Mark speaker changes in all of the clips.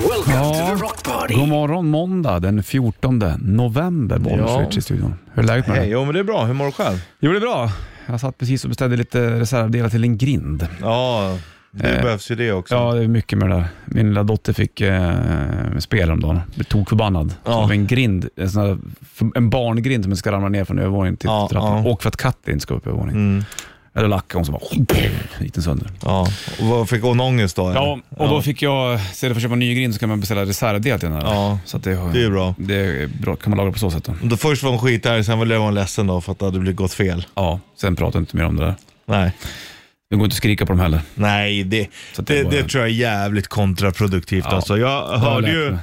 Speaker 1: Welcome
Speaker 2: Ja.
Speaker 1: to the rock party.
Speaker 2: God morgon måndag den 14 november, Bollnäs
Speaker 3: Ja.
Speaker 2: Ritch i studion. Hur är läget med
Speaker 3: Hej,
Speaker 2: dig?
Speaker 3: jo men det är bra. Hur mår du själv?
Speaker 2: Jo, det är bra. Jag satt precis och beställde lite reservdelar till en grind.
Speaker 3: Ja, det
Speaker 2: Eh,
Speaker 3: behövs ju det också.
Speaker 2: Ja, det är mycket med det där. Min lilla dotter fick eh, spel häromdagen. Blev tokförbannad.
Speaker 3: Ja.
Speaker 2: Av en grind, en, sån här, en barngrind som inte ska ramla ner från övervåningen till
Speaker 3: Ja,
Speaker 2: trappan.
Speaker 3: ja.
Speaker 2: Och för att katten inte ska upp i övervåningen.
Speaker 3: Mm,
Speaker 2: Eller lackade hon så bara gick den sönder.
Speaker 3: ja. Och vad fick hon ångest då? eller?
Speaker 2: Ja, och då fick jag, istället för att köpa en ny grind så kan man beställa reservdel till den här.
Speaker 3: Ja,
Speaker 2: Så att det,
Speaker 3: det är ju bra.
Speaker 2: det är bra. kan man laga på så sätt då.
Speaker 3: Då först var hon skitärg, sen blev hon ledsen då för att det hade blivit gått fel.
Speaker 2: Ja, sen pratar jag inte mer om det där.
Speaker 3: Nej,
Speaker 2: Det går inte att skrika på dem heller.
Speaker 3: Nej det,
Speaker 2: Så att det
Speaker 3: det,
Speaker 2: var-
Speaker 3: det tror jag är jävligt kontraproduktivt
Speaker 2: Ja.
Speaker 3: alltså. Jag hörde
Speaker 2: lärt
Speaker 3: ju,
Speaker 2: mig.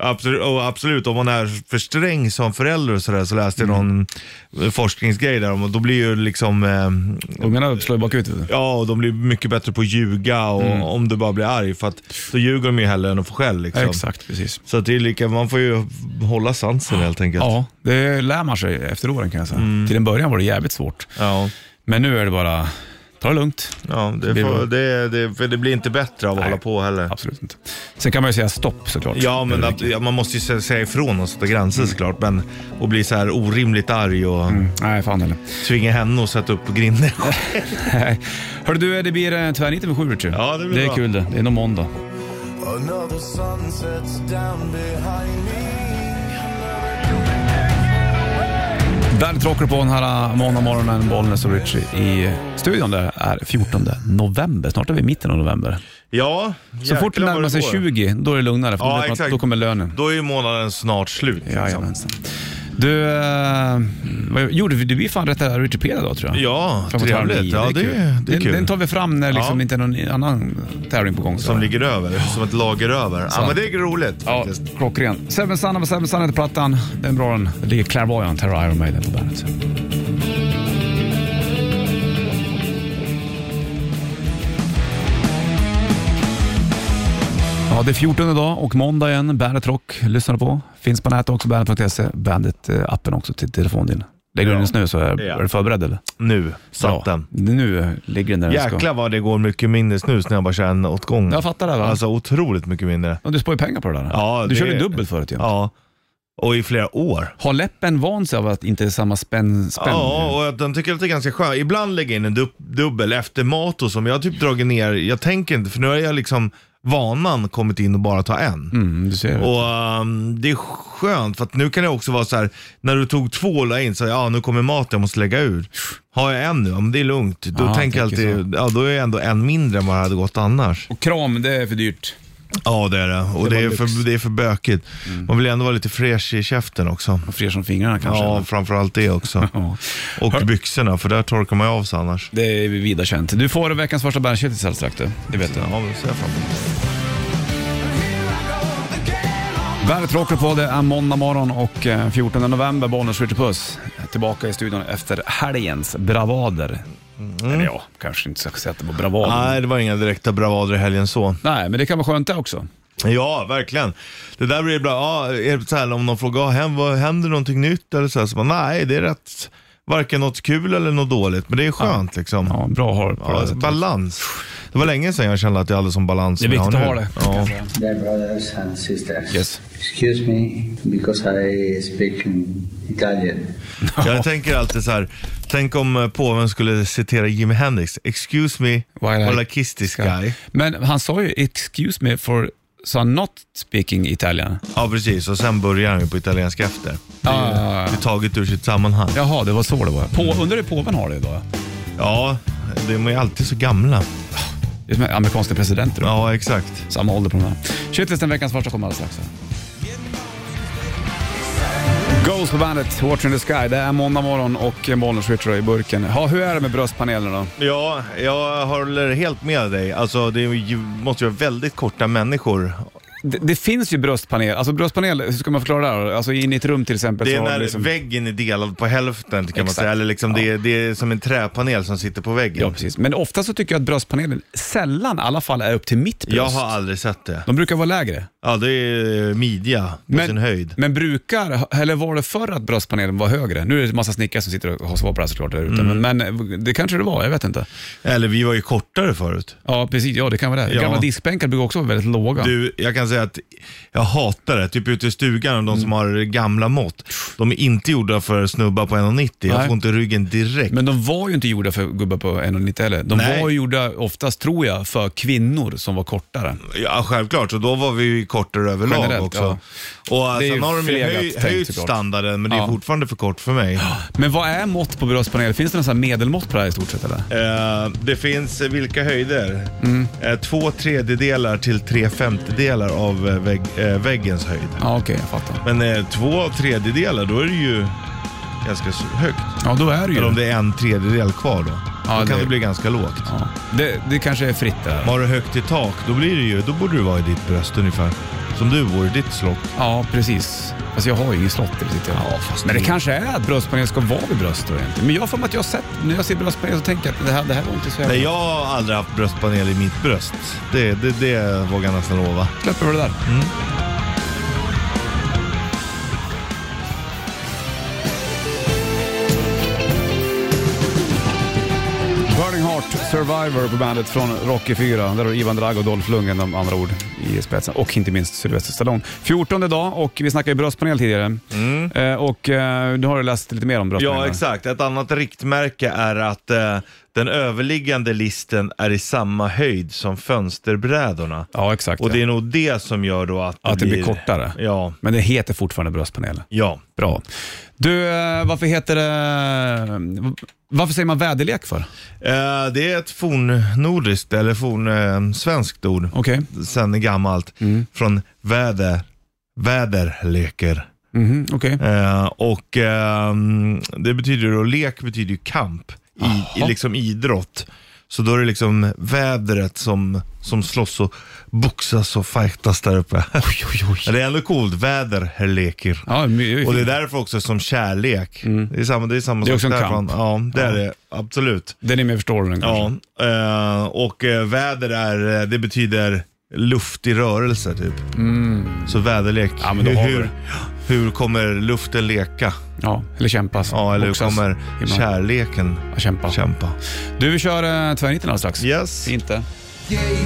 Speaker 3: absolut, och absolut om man är för sträng som förälder och sådär så läste jag
Speaker 2: Mm.
Speaker 3: någon forskningsgrej där om och då blir ju liksom eh,
Speaker 2: Ungarna slår ju bakut. vet du.
Speaker 3: Ja, och de blir mycket bättre på att ljuga och
Speaker 2: Mm.
Speaker 3: om du bara blir arg. För att då ljuger de ju hellre än att få skäll. Liksom.
Speaker 2: Exakt, precis.
Speaker 3: Så att det är lika, man får ju hålla sansen helt enkelt.
Speaker 2: Ja, det lär man sig efter åren kan jag säga.
Speaker 3: Mm.
Speaker 2: Till en början var det jävligt svårt.
Speaker 3: ja,
Speaker 2: Men nu är det bara, ta det lugnt.
Speaker 3: ja
Speaker 2: Det
Speaker 3: det,
Speaker 2: blir bra.
Speaker 3: får, det, det, för det blir inte bättre av att hålla på heller.
Speaker 2: Absolut inte. Sen kan man ju säga stopp såklart.
Speaker 3: Ja, men
Speaker 2: Eller-
Speaker 3: att, ja, man måste ju sä- säga ifrån och sätta gränser
Speaker 2: Mm.
Speaker 3: såklart. Men att bli så här orimligt arg och
Speaker 2: Nej, fan heller.
Speaker 3: tvinga henne att sätta upp grinden.
Speaker 2: Hörru du, det blir eh, tvärnit över sju Richard.
Speaker 3: Ja, det blir
Speaker 2: Det är
Speaker 3: bra.
Speaker 2: kul det. Det är nog måndag.
Speaker 4: Another sun sets down behind me.
Speaker 2: Bandet rockar på den här måndagmorgonen, Bollnäs och Richie i studion. Det är 14 november, snart är vi i mitten av november.
Speaker 3: ja,
Speaker 2: Så fort det närmar sig 20, då är det lugnare, för då,
Speaker 3: Ja,
Speaker 2: vet man, att
Speaker 3: exakt.
Speaker 2: då kommer lönen.
Speaker 3: Då är ju månaden snart slut. liksom.
Speaker 2: Jajamensan. Du, eh, vad gjorde vi? Du blir fan rätt där Wikipedia idag tror jag.
Speaker 3: Ja,
Speaker 2: Framåt halv
Speaker 3: trevligt.
Speaker 2: nio,
Speaker 3: Ja, det, är- det är
Speaker 2: den,
Speaker 3: kul.
Speaker 2: den tar vi fram när liksom
Speaker 3: Ja.
Speaker 2: det inte är någon annan tävling på gång. så.
Speaker 3: Som ligger över, som ett lager över. Ja, men det är roligt
Speaker 2: Ja,
Speaker 3: faktiskt.
Speaker 2: klockren. Seven Sun av Seven Sun heter plattan. Den är bra den. Det ligger Clairvoyant, här och Iron Maiden på bandet. Ja, det är 14 idag och måndag igen. Bandet Rock lyssnar du på. Finns på nätet också, bandet.se. Bandet-appen också till telefonen din. Lägger du den i snö så är,
Speaker 3: Ja.
Speaker 2: är du förberedd eller?
Speaker 3: Nu satt den.
Speaker 2: Nu ligger den där den ska.
Speaker 3: Jäklar vad det går mycket mindre snus när jag bara kör en åt gången.
Speaker 2: Jag fattar det va?
Speaker 3: Alltså otroligt mycket mindre.
Speaker 2: Ja, du sparar ju pengar på det där.
Speaker 3: Ja,
Speaker 2: du
Speaker 3: det-
Speaker 2: körde dubbelt förut ju.
Speaker 3: Ja. Och i flera år.
Speaker 2: Har läppen vant sig av att inte det är samma spänn? spänn?
Speaker 3: Ja, och jag- den tycker att det är ganska skönt. Ibland lägger jag in en dub- dubbel efter mat och som jag har typ dragit ner. Jag tänker inte, för nu har jag liksom vanan kommit in och bara ta en.
Speaker 2: Mm, du ser.
Speaker 3: Och ehm, det är skönt för att nu kan det också vara så här när du tog två och la in så ja nu kommer maten, jag måste lägga ur. Har jag en nu, ja men det är lugnt. Då
Speaker 2: Ja,
Speaker 3: tänker jag
Speaker 2: tänker
Speaker 3: alltid, ja då är jag ändå en mindre än vad det hade gått annars.
Speaker 2: Och kram, det är för dyrt.
Speaker 3: Ja det är det Mm. och
Speaker 2: Det
Speaker 3: det,
Speaker 2: var
Speaker 3: är,
Speaker 2: lyx.
Speaker 3: för, det är för bökigt. Man vill ändå vara lite fräsch i käften också.
Speaker 2: Och fler som fingrarna kanske.
Speaker 3: Ja, framförallt det också.
Speaker 2: Ja.
Speaker 3: Och byxorna, för där torkar man ju av sig annars.
Speaker 2: Det är vida känt. Du får veckans första bandshittis alldeles strax du. Det vet du.
Speaker 3: Ja, men ser jag fram emot.
Speaker 2: Bandet Rocker på, det är måndag morgon och eh, 14 november, Bollnäs skjuter puss. Tillbaka i studion efter helgens bravader. Eller ja, kanske inte ska säga att det var bravader. Nej.
Speaker 3: Mm. Nej, det var inga direkta bravader i helgen så.
Speaker 2: men det kan vara skönt det också.
Speaker 3: Ja, verkligen. Det där blir bra. Ja, är det så här, om någon frågar, "Ah, hem- vad- händer någonting nytt eller så här, så bara, nej det är rätt, varken något kul eller något dåligt, men det är skönt liksom.
Speaker 2: Ja, bra att ha det på det här
Speaker 3: Ja,
Speaker 2: sättet. balans.
Speaker 3: balans. Det var länge sedan jag kände att jag hade sån balans
Speaker 2: Det är
Speaker 3: som jag
Speaker 2: viktigt att ha
Speaker 3: har nu.
Speaker 2: det.
Speaker 3: Ja.
Speaker 5: Dear brothers and sisters,
Speaker 2: Yes.
Speaker 5: excuse me because I speak in Italian.
Speaker 3: Jag tänker alltid så här. tänk om eh, påven skulle citera Jimi Hendrix. Excuse me,
Speaker 2: While I-
Speaker 3: while I kiss this guy.
Speaker 2: Men han sa ju “excuse me for” så han not speaking Italian.
Speaker 3: Ja, precis. Och sen börjar han ju på italienska efter.
Speaker 2: Ah,
Speaker 3: Det är taget ur sitt sammanhang.
Speaker 2: jaha, det var så det var. Mm. På, undrar hur påven har det idag?
Speaker 3: Ja, de är ju alltid så gamla.
Speaker 2: Det är som amerikanska presidenter.
Speaker 3: Ja, exakt.
Speaker 2: Samma ålder på de här. Shitlisten veckans första kommer alldeles strax. Ghost på bandet, Watch in the Sky. Det är måndag morgon och Bollnäs Ritcher i burken. Ja, hur är det med bröstpanelen då?
Speaker 3: Ja, jag håller helt med dig. Alltså, det är ju- måste ju vara väldigt korta människor.
Speaker 2: Det, det finns ju bröstpanel. Alltså bröstpanel, hur ska man förklara det här? Alltså in i ett rum till exempel.
Speaker 3: Det
Speaker 2: så
Speaker 3: är
Speaker 2: har
Speaker 3: när
Speaker 2: du liksom-
Speaker 3: väggen är delad på hälften kan man
Speaker 2: Exakt.
Speaker 3: säga. Eller liksom det, är, det är som en träpanel som sitter på väggen.
Speaker 2: Ja, precis. Men ofta så tycker jag att bröstpanelen sällan i alla fall är upp till mitt bröst.
Speaker 3: jag har aldrig sett det.
Speaker 2: De brukar vara lägre.
Speaker 3: Ja, det är eh, midja på
Speaker 2: Men-
Speaker 3: sin höjd.
Speaker 2: Men brukar, eller var det förr att bröstpanelen var högre? Nu är det en massa snickare som sitter och har svar på det här såklart där ute,
Speaker 3: Mm.
Speaker 2: men, men det kanske det var, jag vet inte.
Speaker 3: Eller vi var ju kortare förut.
Speaker 2: Ja, precis. Ja, det kan vara det.
Speaker 3: Ja.
Speaker 2: Gamla diskbänkar brukar också vara väldigt låga.
Speaker 3: Du, jag kan säga att jag hatar det. Typ ute i stugan, de
Speaker 2: Mm.
Speaker 3: som har gamla mått. De är inte gjorda för snubbar på 1,90. Jag
Speaker 2: Nej.
Speaker 3: får inte ryggen direkt.
Speaker 2: Men de var ju inte gjorda för gubbar på 1,90 heller. De
Speaker 3: Nej.
Speaker 2: var ju gjorda oftast, tror jag, för kvinnor som var kortare.
Speaker 3: Ja, självklart. Och då var vi ju kortare överlag
Speaker 2: Generellt,
Speaker 3: också. Och eh,
Speaker 2: Det är
Speaker 3: sen
Speaker 2: ju
Speaker 3: har de ju
Speaker 2: flegat
Speaker 3: höj,
Speaker 2: tänkt
Speaker 3: höjt
Speaker 2: såklart.
Speaker 3: standarden, men det är
Speaker 2: Ja.
Speaker 3: fortfarande för kort för mig.
Speaker 2: Men vad är mått på bröstpanel? Finns det någon sån här medelmått på det här i stort sett eller?
Speaker 3: Eh, det finns eh, vilka höjder?
Speaker 2: Mm.
Speaker 3: Eh, två tredjedelar till tre femtedelar av eh, vägg, eh, väggens höjd.
Speaker 2: Ja, okej, jag fattar.
Speaker 3: Men eh, två tredjedelar, då är det ju ganska s- högt.
Speaker 2: Ja, då är det ju
Speaker 3: Eller om
Speaker 2: det.
Speaker 3: det är en tredjedel kvar då.
Speaker 2: Ja,
Speaker 3: då kan
Speaker 2: det-
Speaker 3: det bli ganska lågt.
Speaker 2: Ja. Det, det kanske är fritt det där.
Speaker 3: Har du högt i tak, då blir det ju, då borde du vara i ditt bröst ungefär. Som du vore i ditt slott.
Speaker 2: Ja, precis. Fast jag har ju ingen slott. Det sitter jag.
Speaker 3: Ja, fast
Speaker 2: Men det
Speaker 3: det-
Speaker 2: kanske är att bröstpanel ska vara vid bröst då egentligen. Men jag har för mig att jag har sett, när jag ser bröstpanel så tänker jag att det här, det här var inte så jävla...
Speaker 3: Nej, jag har aldrig haft bröstpanel i mitt bröst. Det, det, det vågar jag nästan lova.
Speaker 2: släpper vi det där. Mm. Burning Heart Survivor på bandet från Rocky 4. Där har Ivan Drago och Dolph Lundgren de andra ord i spetsen. Och inte minst Sylvester Stallone. 14 dag och vi snackade ju bröstpanel tidigare. Eh, och eh, nu har du läst lite mer om bröstpanel.
Speaker 3: Mm. Ja, exakt. Ett annat riktmärke är att eh, den överliggande listen är i samma höjd som fönsterbrädorna.
Speaker 2: Ja, exakt.
Speaker 3: Och
Speaker 2: ja.
Speaker 3: det är nog det som gör då att
Speaker 2: Att det blir kortare.
Speaker 3: Ja,
Speaker 2: Men det heter fortfarande bröstpanel.
Speaker 3: ja.
Speaker 2: Bra. Du, eh, varför heter det... Varför säger man väderlek för?
Speaker 3: Eh, det är ett fornnordiskt eller fornsvenskt ord.
Speaker 2: Okej.
Speaker 3: sen gammalt
Speaker 2: Mm.
Speaker 3: från väder, väderleker.
Speaker 2: Mhm, okej.
Speaker 3: Eh, och ehm, det betyder då, lek betyder ju kamp, i, i
Speaker 2: Jaha.
Speaker 3: liksom idrott. Så då är det liksom vädret som, som slåss och boxas och fightas där uppe. Men det är ändå coolt, väderleker.
Speaker 2: Ja, my-
Speaker 3: Och det är därför också som kärlek. Det är samma, det är samma
Speaker 2: Mm. Det är
Speaker 3: sak
Speaker 2: också en
Speaker 3: därifrån.
Speaker 2: kamp.
Speaker 3: Ja, det är det. Absolut.
Speaker 2: Den är mer förståelig än kanske.
Speaker 3: Ja, eh, och eh, väder är, eh, det betyder luft i rörelse typ. Så väderlek.
Speaker 2: Mm. Ja, men då
Speaker 3: hur,
Speaker 2: har vi
Speaker 3: hur,
Speaker 2: det.
Speaker 3: hur kommer luften leka?
Speaker 2: Ja, eller kämpas.
Speaker 3: Ja, eller hur
Speaker 2: Boxas.
Speaker 3: kommer
Speaker 2: Ibland.
Speaker 3: kärleken
Speaker 2: Ja, Kämpa.
Speaker 3: kämpa?
Speaker 2: Du, vi kör eh, tvärniten alldeles strax.
Speaker 3: Yes.
Speaker 2: Inte.
Speaker 4: Gazing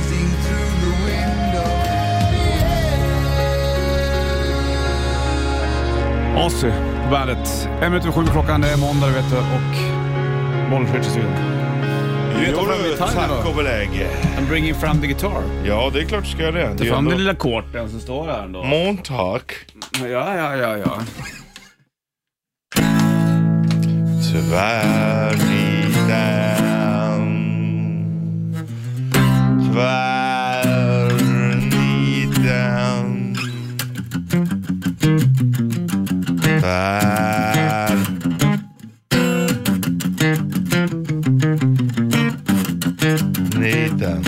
Speaker 4: through the window.
Speaker 2: Ozzy på bandet. En minut över sju klockan, det är måndag vet du och Bollnäs i studion. vet att fram i timern då?
Speaker 3: tack och belägg.
Speaker 2: I'm bringing fram the guitar.
Speaker 3: Ja, det är klart ska jag det.
Speaker 2: Ta
Speaker 3: det
Speaker 2: fram den lilla korten som står här ändå.
Speaker 3: Montauk.
Speaker 2: Ja, ja, ja, ja.
Speaker 3: Tvärniten. Tvärniten. Tvär. Niten.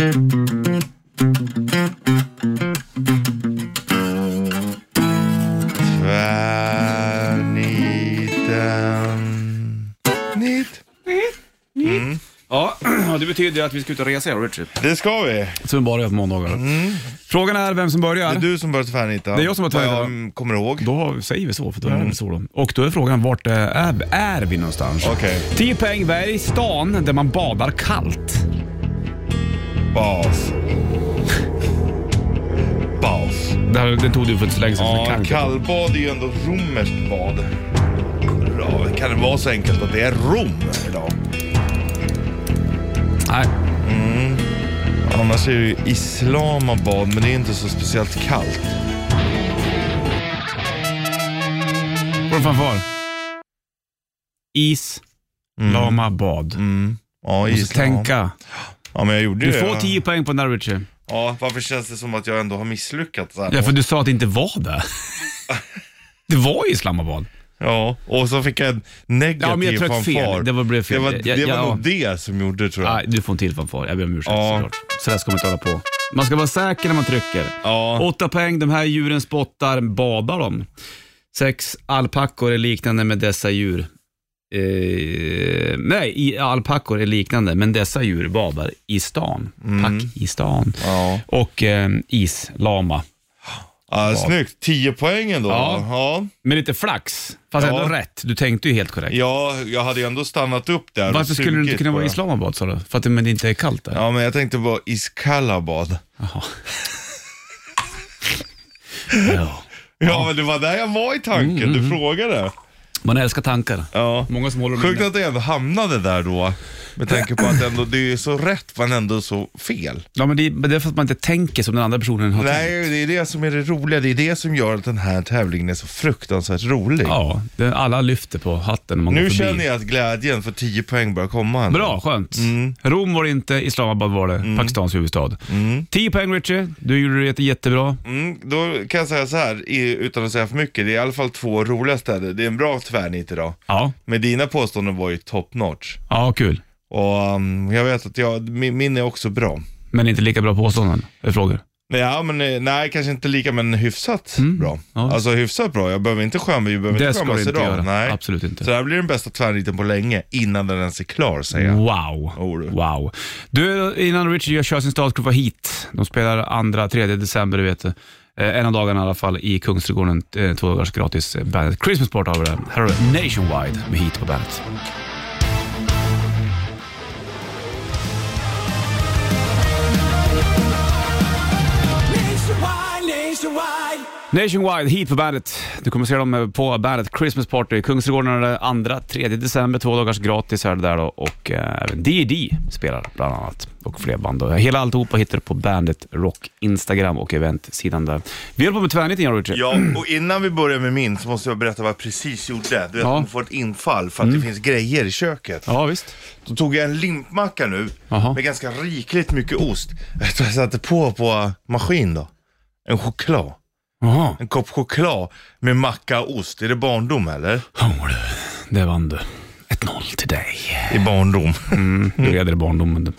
Speaker 3: Tvärniten. Nit.
Speaker 2: Ja, och det betyder ju att vi ska ut och resa, Richard.
Speaker 3: Det ska vi.
Speaker 2: Som bara gör på måndagar. Frågan Mm. är vem som börjar.
Speaker 3: Det är du som börjar tvärnita.
Speaker 2: Det är jag som börjar
Speaker 3: Vad
Speaker 2: tvärnita.
Speaker 3: Jag kommer ihåg.
Speaker 2: Då har- säger vi så, för då är det så då. Och då är frågan, vart eh, är, är vi någonstans?
Speaker 3: Okej.
Speaker 2: 10 poäng, vad är det i stan där man badar kallt?
Speaker 3: Bas. Bas.
Speaker 2: Det, här, det tog du för inte så länge sedan. så det
Speaker 3: Ja,
Speaker 2: kan inte-
Speaker 3: kallbad är ju ändå romerskt bad. Ja, kan det vara så enkelt att det är Rom idag?
Speaker 2: Nej.
Speaker 3: Annars är det ju islam och bad, men det är inte så speciellt kallt.
Speaker 2: Går det framför? Is, lama, bad.
Speaker 3: Mm. Ja,
Speaker 2: Måste
Speaker 3: islam.
Speaker 2: tänka.
Speaker 3: Ja, men jag gjorde
Speaker 2: Du
Speaker 3: det.
Speaker 2: får 10 poäng på den där Richie.
Speaker 3: Ja, varför känns det som att jag ändå har misslyckats? så här?
Speaker 2: Ja, för du sa att det inte var det. Det var ju Islamabad.
Speaker 3: Ja, och så fick jag en negativ
Speaker 2: Ja, men jag tror att fel.
Speaker 3: fanfar.
Speaker 2: Det var- blev fel.
Speaker 3: Det var,
Speaker 2: Ja,
Speaker 3: det var
Speaker 2: ja.
Speaker 3: nog det som gjorde tror jag.
Speaker 2: Nej, du får en till fanfar. Jag ber om ursäkt
Speaker 3: Ja.
Speaker 2: såklart. Så där ska man inte hålla på. Man ska vara säker när man trycker.
Speaker 3: Ja.
Speaker 2: Åtta poäng, de här djuren spottar, badar de. Sex, alpackor är liknande med dessa djur. Eh, nej, i- alpackor är liknande, men dessa djur badar Mm. i stan. Pack i stan.
Speaker 3: Ja.
Speaker 2: Och eh, islama.
Speaker 3: Ja, snyggt, 10 poäng ändå.
Speaker 2: Ja.
Speaker 3: Ja. Ja.
Speaker 2: Med lite flax, fast
Speaker 3: Ja.
Speaker 2: ändå rätt. Du tänkte ju helt korrekt.
Speaker 3: ja, jag hade ju ändå stannat upp där. och
Speaker 2: Varför skulle du inte
Speaker 3: sugit
Speaker 2: kunna
Speaker 3: på
Speaker 2: vara i
Speaker 3: det.
Speaker 2: Islamabad sa du? För att det, men det inte är kallt där?
Speaker 3: Ja, men jag tänkte vara Iskalabad.
Speaker 2: Jaha. ja. Mm,
Speaker 3: Ja, men det var där jag var i tanken. Du frågade.
Speaker 2: Man älskar tankar.
Speaker 3: Ja.
Speaker 2: Många som håller
Speaker 3: Sjukt
Speaker 2: med.
Speaker 3: att jag ändå hamnade där då. Med tanke på att ändå, det är så rätt men ändå så fel.
Speaker 2: Ja, men det, men det är för att man inte tänker som den andra personen har tänkt.
Speaker 3: Nej, det är det som är det roliga. Det är det som gör att den här tävlingen är så fruktansvärt rolig.
Speaker 2: Ja, det, alla lyfter på hatten när man går
Speaker 3: Nu
Speaker 2: förbi.
Speaker 3: känner jag att glädjen för 10 poäng börjar komma. ändå.
Speaker 2: Bra, skönt.
Speaker 3: Mm.
Speaker 2: Rom var det inte, Islamabad var det, Pakistans huvudstad. 10 poäng Richie, du gjorde det jätte- jättebra.
Speaker 3: Mm, då kan jag säga så här, i- utan att säga för mycket. Det är i alla fall två roliga städer. Det är en bra tvärnit idag.
Speaker 2: Ja,
Speaker 3: Men dina påståenden var ju top notch.
Speaker 2: ja kul.
Speaker 3: Och um, jag vet att jag, min, min är också bra.
Speaker 2: Men inte lika bra påståenden, eller frågor.
Speaker 3: Ja, men eh, nej, kanske inte lika, men hyfsat bra.
Speaker 2: Mm. Ja.
Speaker 3: Alltså hyfsat bra. Jag behöver inte skämma, vi behöver
Speaker 2: Det
Speaker 3: inte
Speaker 2: ska du
Speaker 3: skämmas
Speaker 2: inte
Speaker 3: idag.
Speaker 2: göra.
Speaker 3: Nej.
Speaker 2: Absolut inte.
Speaker 3: Så det här blir den bästa tvärniten på länge, innan den ens är klar, säger
Speaker 2: Mm.
Speaker 3: jag.
Speaker 2: Wow.
Speaker 3: Jo, Oh, du.
Speaker 2: wow. Du, innan Richie gör- kör sin startgrupp hit. De spelar andra, tredje december, du vet. Eh, en av dagarna i alla fall i Kungsträdgården. Eh, två dagars gratis. eh, Bandet Christmas Party har vi där. Här har du Nationwide med hit på bandet. Nationwide, hit på bandet. Du kommer se dem eh, på bandet Christmas Party, Kungsträdgården den 2 3 december. Två dagars gratis är det där då. och eh, även D&D spelar bland annat och fler band. Då. Hela alltihopa hittar du på bandet Rock Instagram och eventsidan där. Vi håller på med tvärniten, jag och Richard.
Speaker 3: Ja, och innan vi börjar med min så måste jag berätta vad jag precis gjorde. Du vet,
Speaker 2: Ja. Mm.
Speaker 3: man får ett infall för att det finns grejer i köket.
Speaker 2: ja, visst.
Speaker 3: Då tog jag en limpmacka nu,
Speaker 2: Jaha.
Speaker 3: med ganska rikligt mycket ost. Vet du vad jag satte på på maskin då? En choklad.
Speaker 2: Jaha.
Speaker 3: En kopp choklad med macka och ost. Är det barndom eller?
Speaker 2: Ja, du. Det vann du. 1-0 till dig.
Speaker 3: I barndom.
Speaker 2: Du leder i barndomen. du.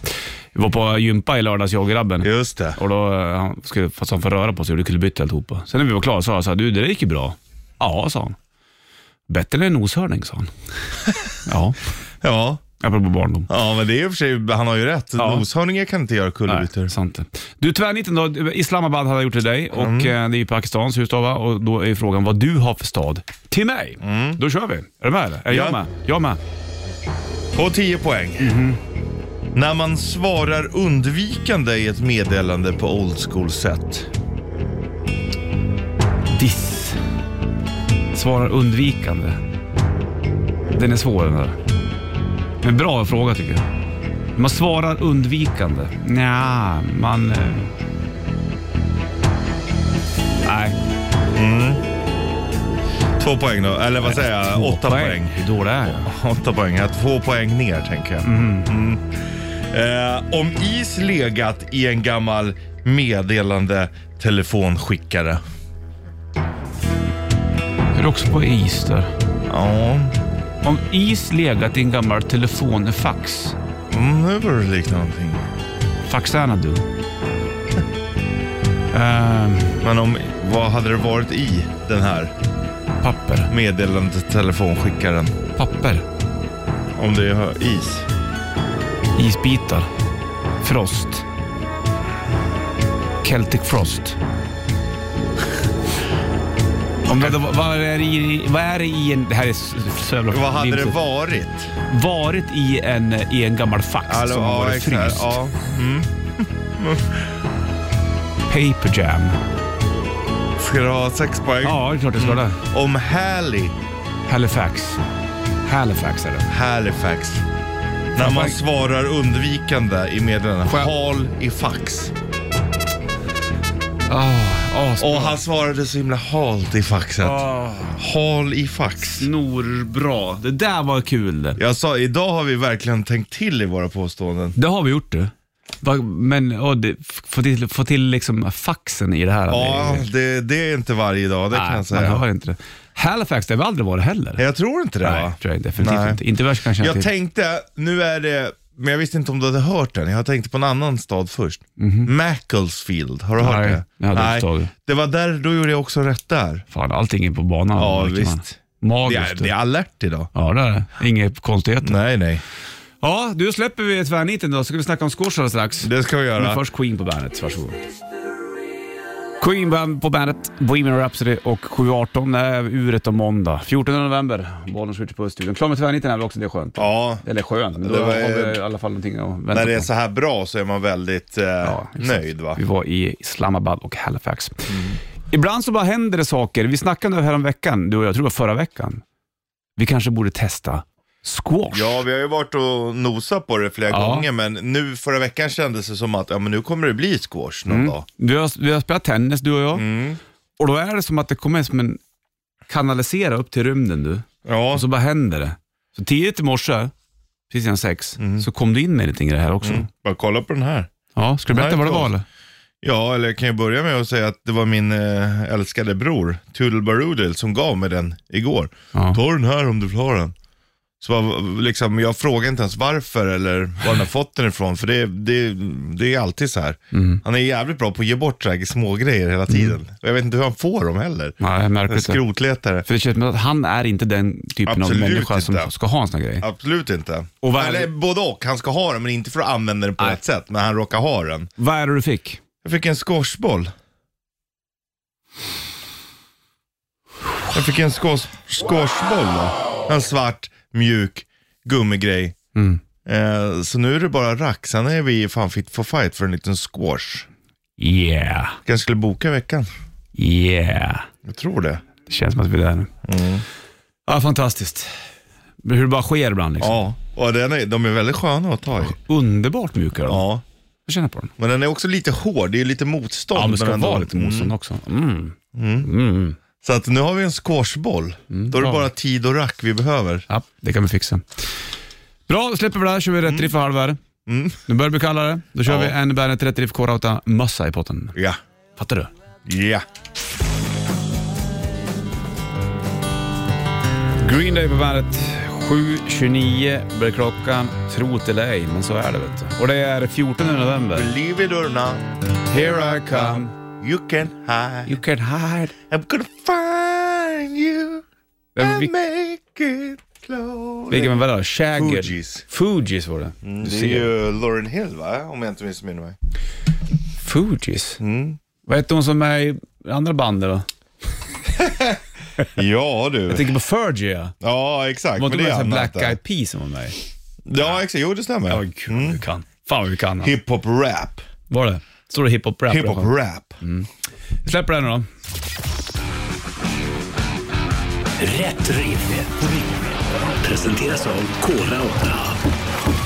Speaker 2: Vi var på gympa i lördags, jag och grabben.
Speaker 3: Just det.
Speaker 2: Och då eh, han skulle, fast han får röra på sig och det kunde byta alltihopa. Sen när vi var klara sa jag så här, du det där gick ju bra. Ja, sa han. Bättre än en noshörning, sa han. ja,
Speaker 3: Ja.
Speaker 2: apropå barndom.
Speaker 3: Ja, men det är i och för sig, han har ju rätt. Noshörningar kan inte göra
Speaker 2: Nej,
Speaker 3: kullerbyttor.
Speaker 2: sant det. Du, tvärniten då. Islamabad hade jag gjort till dig och eh, det är ju Pakistans huvudstad va? Och då är ju frågan vad du har för stad till mig. Då kör vi. Är du med eller? Är jag
Speaker 3: Ja.
Speaker 2: med? Jag med.
Speaker 3: På 10 poäng. När man svarar undvikande i ett meddelande på old school sätt.
Speaker 2: Diss. Svarar undvikande. Den är svår den där. Men bra fråga tycker jag. Man svarar undvikande. Nja, man... eh, Nej.
Speaker 3: Två poäng då, eller vad säger jag? Åtta Äh, poäng.
Speaker 2: Hur dålig eh, är jag?
Speaker 3: Åtta poäng, jag har två poäng ner tänker jag. Mm. Eh, om is legat i en gammal meddelande telefonskickare.
Speaker 2: Är du också på is där?
Speaker 3: Ja,
Speaker 2: Om is legat i en gammal telefonfax.
Speaker 3: mm, nu börjar det likna någonting.
Speaker 2: Faxarna du. Ehm,
Speaker 3: Men om, vad hade det varit i den här
Speaker 2: papper.
Speaker 3: meddelandet telefonskickaren?
Speaker 2: Papper.
Speaker 3: Om det är is.
Speaker 2: Isbitar. Frost. Celtic Frost. Om det, vad, vad, är det i, vad är det i en... Det här är så så jävla
Speaker 3: Vad hade det
Speaker 2: vimsigt.
Speaker 3: varit?
Speaker 2: varit i en, i en gammal fax som har varit
Speaker 3: exakt.
Speaker 2: fryst?
Speaker 3: Ja.
Speaker 2: Paper jam.
Speaker 3: Ska du ha sex poäng?
Speaker 2: Ja, det är klart det ska det.
Speaker 3: Om Halley,
Speaker 2: Halifax. Halifax är det.
Speaker 3: Halifax. När man svarar undvikande i meddelandet. Hal i fax. Ah,
Speaker 2: Åh, asbra.
Speaker 3: Och han svarade så himla halt i faxet. Hal i fax.
Speaker 2: Snorbra. Det där var kul. det.
Speaker 3: Jag sa, idag har vi verkligen tänkt till i våra påståenden.
Speaker 2: Det har vi gjort du. Va- Men ja, det, f- få till, få till liksom faxen i det här.
Speaker 3: Ja,
Speaker 2: det,
Speaker 3: det, det är inte varje dag, det kan
Speaker 2: nej,
Speaker 3: jag
Speaker 2: man
Speaker 3: säga.
Speaker 2: hör inte det. Halifax, det har vi aldrig varit heller.
Speaker 3: Jag tror inte det
Speaker 2: nej,
Speaker 3: va?
Speaker 2: tror jag definitivt
Speaker 3: Nej.
Speaker 2: inte. Inte värst kanske
Speaker 3: Jag
Speaker 2: till-
Speaker 3: tänkte, nu är det, men jag visste inte om du hade hört den. Jag tänkte på en annan stad först. Macclesfield, har du hört
Speaker 2: Mhm. Nej,
Speaker 3: det?
Speaker 2: jag hade inte tagit.
Speaker 3: Det var där, då gjorde jag också rätt där.
Speaker 2: Fan, allting är på banan.
Speaker 3: Ja,
Speaker 2: märker man.
Speaker 3: visst. Det är,
Speaker 2: Magiskt.
Speaker 3: det är
Speaker 2: du.
Speaker 3: alert idag.
Speaker 2: Ja, det är det. Inga konstigheter.
Speaker 3: Nej, nej.
Speaker 2: Ja, du släpper vi tvärniten då, så ska vi snacka om squash alldeles strax.
Speaker 3: Det ska vi göra.
Speaker 2: Men först Queen på bandet, varsågod.
Speaker 4: It's the real
Speaker 2: Queen Band på bandet, Bohemian Rhapsody och 7.18 är uret om måndag. 14 november, bollen skjuter på studion. Klar med tvärnitten är väl också, det är skönt.
Speaker 3: Ja,
Speaker 2: Eller skönt, men då
Speaker 3: Det var-
Speaker 2: har vi i alla fall någonting att vänta
Speaker 3: när det är
Speaker 2: på.
Speaker 3: så här bra så är man väldigt eh,
Speaker 2: exakt.
Speaker 3: nöjd va?
Speaker 2: Vi var i Islamabad och Halifax. Ibland så bara händer det saker. Vi snackade nu häromveckan, du och jag, jag tror det var förra veckan. Vi kanske borde testa squash.
Speaker 3: Ja, vi har ju varit och nosat på det flera
Speaker 2: Ja.
Speaker 3: gånger, men nu förra veckan kändes det som att ja, men nu kommer det bli squash någon
Speaker 2: Mm.
Speaker 3: dag.
Speaker 2: Du har, vi har spelat tennis du och jag
Speaker 3: Mm.
Speaker 2: och då är det som att det kommer som en kanalisera upp till rymden du.
Speaker 3: Ja,
Speaker 2: Och så bara händer det. Så tidigt i morse, precis innan sex,
Speaker 3: Mm.
Speaker 2: så kom du in med lite i det här också.
Speaker 3: bara kolla på den här.
Speaker 2: Ja, ska du berätta
Speaker 3: Mm. Nej,
Speaker 2: vad det var
Speaker 3: förlåt.
Speaker 2: eller?
Speaker 3: Ja, eller jag kan ju börja med att säga att det var min eh, älskade bror, Toodle som gav mig den igår.
Speaker 2: Ja.
Speaker 3: Ta den här om du vill ha den. Så var, liksom, jag frågade inte ens varför eller var han har fått den ifrån, för det, det, det är alltid så här.
Speaker 2: Mm.
Speaker 3: Han är jävligt bra på att ge bort så här små grejer hela tiden. Och jag vet inte hur han får dem heller.
Speaker 2: Nej,
Speaker 3: En
Speaker 2: märkligt.
Speaker 3: skrotletare.
Speaker 2: För det känns som att han är inte den typen
Speaker 3: Absolut
Speaker 2: av människa som
Speaker 3: inte.
Speaker 2: ska ha en sån här grej.
Speaker 3: Absolut inte.
Speaker 2: Och vad är
Speaker 3: Eller
Speaker 2: det-
Speaker 3: både och. Han ska ha den, men inte för att använda den på
Speaker 2: Nej.
Speaker 3: rätt sätt. Men han råkar ha den.
Speaker 2: Vad är det du fick?
Speaker 3: Jag fick en squashboll. Jag fick en squash, squashboll då. En svart, mjuk gummigrej.
Speaker 2: Mm.
Speaker 3: Eh, så nu är det bara rack. Sen är vi fan fit for fight för en liten squash.
Speaker 2: Yeah,
Speaker 3: Kanske skulle boka i veckan.
Speaker 2: yeah.
Speaker 3: Jag tror det.
Speaker 2: Det känns som att vi är där nu. Ja, fantastiskt. Hur det bara sker ibland liksom.
Speaker 3: Ja, och den är, de är väldigt sköna att ta i.
Speaker 2: Underbart mjuka de.
Speaker 3: Ja,
Speaker 2: Jag känner på dem.
Speaker 3: men den är också lite hård. Det är lite motstånd.
Speaker 2: Ja, men det ska
Speaker 3: ändå-
Speaker 2: vara lite motstånd också. Mm. Mm.
Speaker 3: Så att nu har vi en squashboll. Då är det
Speaker 2: bra.
Speaker 3: bara tid och rack vi behöver.
Speaker 2: Ja, det kan vi fixa. Bra, då släpper vi det här kör vi rätt riff och halvare. Nu börjar det bli kallare. Då kör
Speaker 3: Ja.
Speaker 2: vi en Bandet Rätt Riff K-Rauta mössa i potten.
Speaker 3: Ja,
Speaker 2: Fattar du?
Speaker 3: ja.
Speaker 2: Green Day på bandet. 7.29 blir klockan. Tro det eller ej, men så är det vet du. Och det är 14 november.
Speaker 3: Believe it or not,
Speaker 2: Here I come,
Speaker 3: you can hide.
Speaker 2: you can hide.
Speaker 3: I'm gonna find you
Speaker 2: Vem,
Speaker 3: and
Speaker 2: vil,
Speaker 3: make it slowly.
Speaker 2: vilken var det då? Shagger?
Speaker 3: Fugees. Mm,
Speaker 2: Fugees var det. Du
Speaker 3: Det är
Speaker 2: ser.
Speaker 3: ju Lauren Hill va? Om jag inte missminner mig.
Speaker 2: Fugees?
Speaker 3: Mm.
Speaker 2: Vad hette hon som är i andra bandet då?
Speaker 3: Ja
Speaker 2: Jag
Speaker 3: du.
Speaker 2: tänker på Fergie ja.
Speaker 3: Ja exakt.
Speaker 2: Var
Speaker 3: Men
Speaker 2: inte
Speaker 3: det
Speaker 2: hon
Speaker 3: är
Speaker 2: med i
Speaker 3: annat
Speaker 2: Black
Speaker 3: där.
Speaker 2: Eyed Peas som var med?
Speaker 3: Ja exakt, jo det
Speaker 2: Ja,
Speaker 3: stämmer.
Speaker 2: gud vad vi kan. Fan vad vi kan. han.
Speaker 3: Hiphop rap.
Speaker 2: Var det? Står det hiphop rap?
Speaker 3: Hiphop rap.
Speaker 2: Vi släpper det här nu då.
Speaker 1: Rätt riff. Presenteras av Kora 8.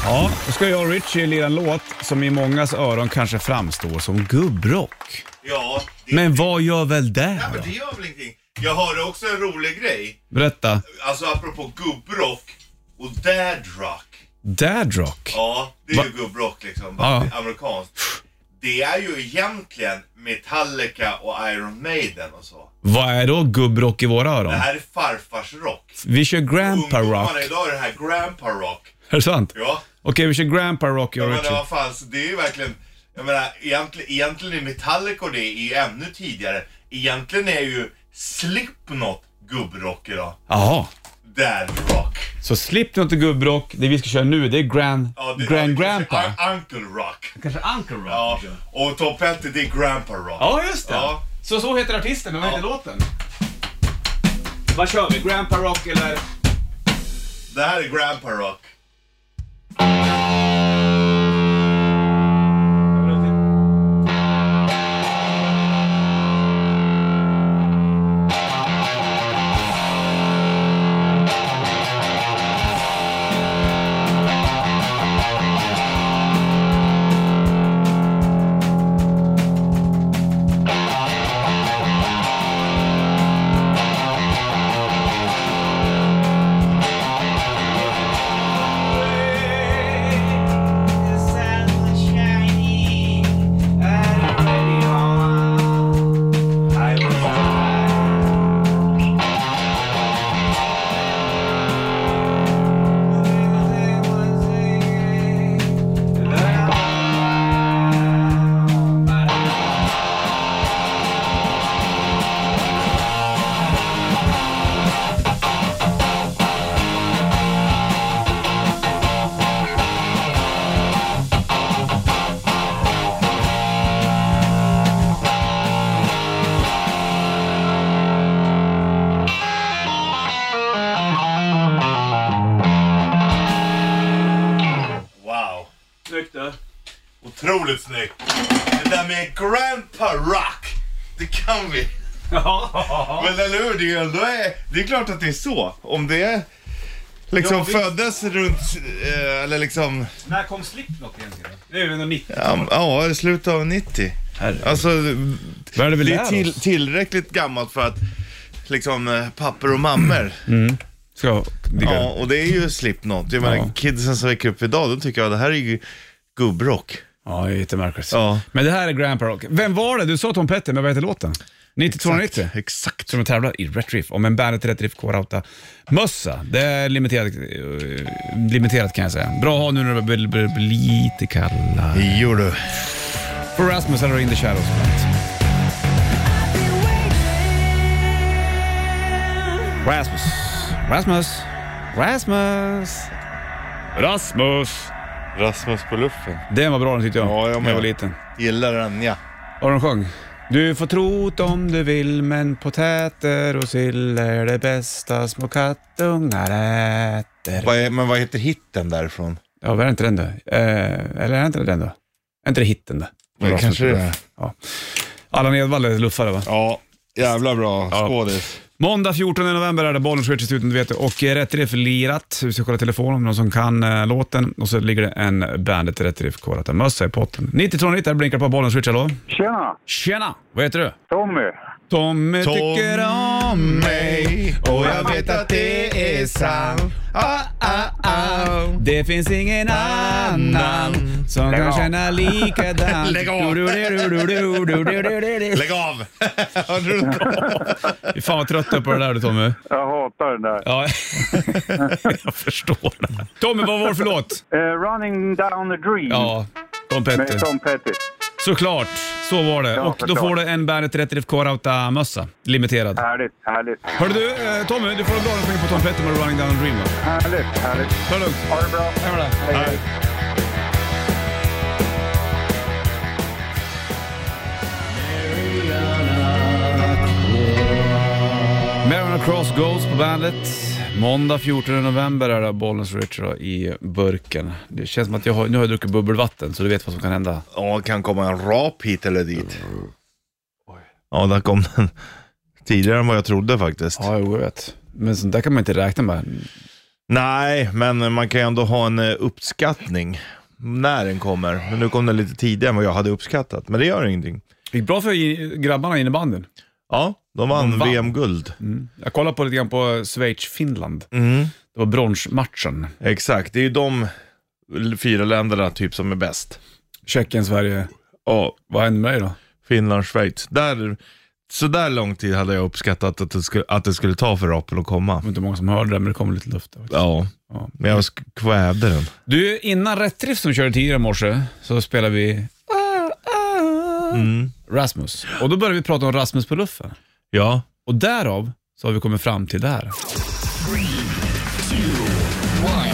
Speaker 2: Ja, då ska jag och Richie lira en låt som i mångas öron kanske framstår som gubbrock.
Speaker 3: Ja, det,
Speaker 2: Men vad gör väl det då?
Speaker 3: det gör väl ingenting. Jag hörde också en rolig grej.
Speaker 2: Berätta.
Speaker 3: Alltså apropå gubbrock och dadrock.
Speaker 2: Dadrock?
Speaker 3: Ja, det är ju gubbrock liksom. bara
Speaker 2: Ja.
Speaker 3: det är Amerikanskt. Det är ju egentligen Metallica och Iron Maiden och så.
Speaker 2: Vad är då gubbrock i våra öron?
Speaker 3: Det här är farfars rock.
Speaker 2: Vi kör grandpa rock.
Speaker 3: Ungdomarna idag är det här grandpa rock.
Speaker 2: Är det sant?
Speaker 3: Ja.
Speaker 2: Okej, vi kör grandpa rock, jag och
Speaker 3: Jag menar
Speaker 2: Richie.
Speaker 3: vad fan, så det är ju verkligen. Jag menar egentligen, egentligen är Metallica och det är ju ännu tidigare. Egentligen är ju Slipknot gubbrock idag.
Speaker 2: Jaha.
Speaker 3: Dadrock.
Speaker 2: Så Slipknot är gubbrock, det vi ska köra nu det är grand,
Speaker 3: Ja, det-
Speaker 2: grand
Speaker 3: ja, det kanske
Speaker 2: grandpa.
Speaker 3: är Un- Uncle rock.
Speaker 2: Kanske Uncle Rock?
Speaker 3: Ja, och Tom Petty det är grandpa rock.
Speaker 2: Ja, just det.
Speaker 3: Ja.
Speaker 2: Så så heter artisten, men vad heter låten? Vad kör vi? Grandpa Rock eller?
Speaker 3: Det här är grandpa rock.
Speaker 2: Ja, eh.
Speaker 3: otroligt snyggt. Det där med Grandpa Rock, det kan vi. Men eller hur, det är, ändå är, det är klart att det är så. Om det är, liksom
Speaker 2: Ja, visst.
Speaker 3: föddes runt, eh, eller liksom,
Speaker 2: När kom Slipknot egentligen? Det är ju 90.
Speaker 3: ja, ja i slutet av 90. Alltså,
Speaker 2: Vad är det vi
Speaker 3: det
Speaker 2: lär
Speaker 3: är till,
Speaker 2: oss?
Speaker 3: tillräckligt gammalt för att liksom eh, papper och mammor.
Speaker 2: Ska jag digga
Speaker 3: Ja,
Speaker 2: det?
Speaker 3: och det är ju Slipknot. Jag menar,
Speaker 2: Ja.
Speaker 3: kidsen som väcker upp idag, då tycker jag det här är ju gubbrock.
Speaker 2: Ja, det är jättemärkligt.
Speaker 3: Ja.
Speaker 2: Men det här är Grandpa Rock. Vem var det? Du sa Tom Petty, men vad heter låten? 9290?
Speaker 3: Exakt.
Speaker 2: Som de tävlar i Rätt Riff. Och men bandet Rätt Riff K-Rauta mössa. Det är limiterat, eh, limiterat kan jag säga. Bra att ha nu när det börjar bli- bli lite kallare.
Speaker 3: Jo du.
Speaker 2: För Rasmus eller In the Shadows. på bandet. Rasmus. Rasmus. Rasmus. Rasmus.
Speaker 3: Rasmus på luffen.
Speaker 2: Den var bra den tyckte jag.
Speaker 3: Ja, jag
Speaker 2: när
Speaker 3: med.
Speaker 2: jag var liten.
Speaker 3: Gillar den ja.
Speaker 2: Och de sjöng. Du får trot om du vill men potäter och sill är det bästa små kattungar äter.
Speaker 3: Vad är, men vad heter hitten därifrån?
Speaker 2: Ja, vad är inte den då? Eh, eller är inte det den då? Är inte det hitten då?
Speaker 3: Det kanske det är.
Speaker 2: Ja. Allan Edwall är luffare va?
Speaker 3: Ja, jävla bra
Speaker 2: Ja.
Speaker 3: skådis.
Speaker 2: Måndag 14 november är det Bollnäs Richards utan du vet det. Och eh, Rätt Riff lirat. Vi ska kolla telefonen om någon som kan eh, låten. Och så ligger det en Bandet Rätt Riff Korata-mössa i potten. 9290 här blinkar på Bollnäs Richard, hallå?
Speaker 6: Tjena!
Speaker 2: Tjena! Vad heter du?
Speaker 6: Tommy!
Speaker 2: Tommy tycker om mig och jag vet att det är sant. Ah, ah, ah. Det finns ingen annan som
Speaker 6: Lägg
Speaker 2: kan
Speaker 6: av.
Speaker 2: känna likadant.
Speaker 3: Lägg av.
Speaker 2: Du, du, du, du, du, du, du, du, du, du.
Speaker 3: Lägg av! Hörde du inte?
Speaker 2: Fy Fan vad trött jag är på det där du Tommy.
Speaker 6: Jag hatar den där.
Speaker 2: Ja, jag förstår. det. Tommy, vad var det för låt?
Speaker 6: Eh, running down the dream
Speaker 2: Ja, Tom Petty.
Speaker 6: med Tom Petty.
Speaker 2: Såklart, så var det.
Speaker 6: Ja,
Speaker 2: Och då
Speaker 6: såklart.
Speaker 2: får du en Bandet Rätt Riff K-Rauta-mössa. Limiterad.
Speaker 6: Härligt, härligt,
Speaker 2: Hörru du, eh, Tommy, du får en bra refräng på Tom Petty med Running Down a Dream. va?
Speaker 6: härligt, härligt.
Speaker 2: Ta det lugnt.
Speaker 6: Ha det bra.
Speaker 2: Hej med dig.
Speaker 6: Hej, hej.
Speaker 2: Marion Cross Goes på bandet. Måndag 14 november är det Bollnäs Richard i burken. Det känns som att jag har, nu har jag druckit bubbelvatten så du vet vad som kan hända.
Speaker 3: Ja, kan komma en rap hit eller dit. Ja, där kom den. Tidigare än vad jag trodde faktiskt.
Speaker 2: Ja, jag vet. Men sånt där kan man inte räkna med.
Speaker 3: Nej, men man kan ju ändå ha en eh, uppskattning när den kommer. Men nu kom den lite tidigare än vad jag hade uppskattat. Men det gör ingenting.
Speaker 2: gick bra för i- grabbarna i innebandyn.
Speaker 3: Ja, de vann,
Speaker 2: De vann. Mm.
Speaker 3: VM-guld.
Speaker 2: Jag kollade på lite grann på Schweiz-Finland. Det var bronsmatchen.
Speaker 3: Exakt, det är ju de fyra länderna typ som är bäst.
Speaker 2: Tjeckien, Sverige.
Speaker 3: Ja,
Speaker 2: Vad hände med dig då?
Speaker 3: Finland, Schweiz. Där, så där lång tid hade jag uppskattat att det skulle, att det skulle ta för rapen att komma.
Speaker 2: Det var inte många som hörde det, men det kom lite luft. där.
Speaker 3: Ja,
Speaker 2: Ja.
Speaker 3: men jag sk- kvävde den.
Speaker 2: Du, innan Rättriff som vi körde tidigare i morse så spelade vi Mm. Rasmus. Och då började vi prata om Rasmus på luffen.
Speaker 3: Ja,
Speaker 2: Och därav så har vi kommit fram till det här.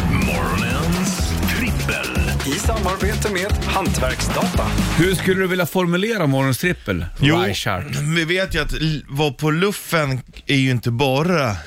Speaker 1: Morgonens trippel.
Speaker 7: I samarbete med Hantverksdata.
Speaker 2: Hur skulle du vilja formulera morgonens trippel?
Speaker 3: Jo.
Speaker 2: Reichart?
Speaker 3: vi vet ju att l- vara på luffen är ju inte bara eh,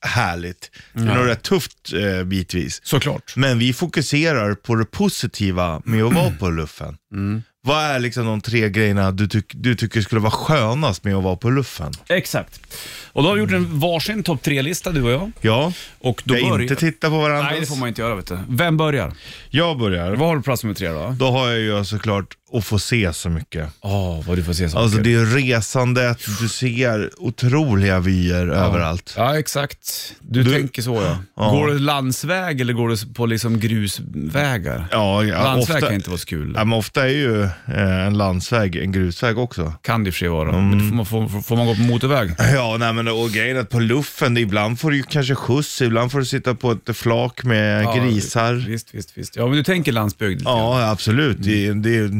Speaker 3: härligt. Det är nog rätt tufft eh, bitvis.
Speaker 2: Såklart.
Speaker 3: Men vi fokuserar på det positiva med att vara på luffen.
Speaker 2: Mm.
Speaker 3: Vad är liksom de tre grejerna du, tyck- du tycker skulle vara skönast med att vara på luffen?
Speaker 2: Exakt. Och då har vi gjort en varsin topp tre-lista du och jag.
Speaker 3: Ja,
Speaker 2: Och då
Speaker 3: jag
Speaker 2: börjar...
Speaker 3: inte titta på varandra.
Speaker 2: Nej, det får man inte göra vet du. Vem börjar?
Speaker 3: Jag börjar.
Speaker 2: Vad har du på plats nummer tre då?
Speaker 3: Då har jag ju såklart att få se så mycket.
Speaker 2: Åh, vad du får se saker.
Speaker 3: Alltså det är resandet, du ser otroliga vyer överallt.
Speaker 2: Ja, exakt. Du,
Speaker 3: Du-
Speaker 2: tänker så ja.
Speaker 3: Ja.
Speaker 2: Går du landsväg eller går du på liksom grusvägar?
Speaker 3: Ja, ja
Speaker 2: landsväg
Speaker 3: ofta,
Speaker 2: kan inte vara så kul.
Speaker 3: ja, men ofta är ju eh, en landsväg en grusväg också.
Speaker 2: Kan det i och för sig vara. Men får, man, får, får får man gå på motorväg?
Speaker 3: Mm. Ja, nej, men och grejen är att på luffen, det- ibland får du ju kanske skjuts, ibland får du sitta på ett flak med
Speaker 2: Ja,
Speaker 3: grisar.
Speaker 2: Visst, visst, visst. Ja, men du tänker landsbygd. lite grann.
Speaker 3: Ja, absolut. Det, det,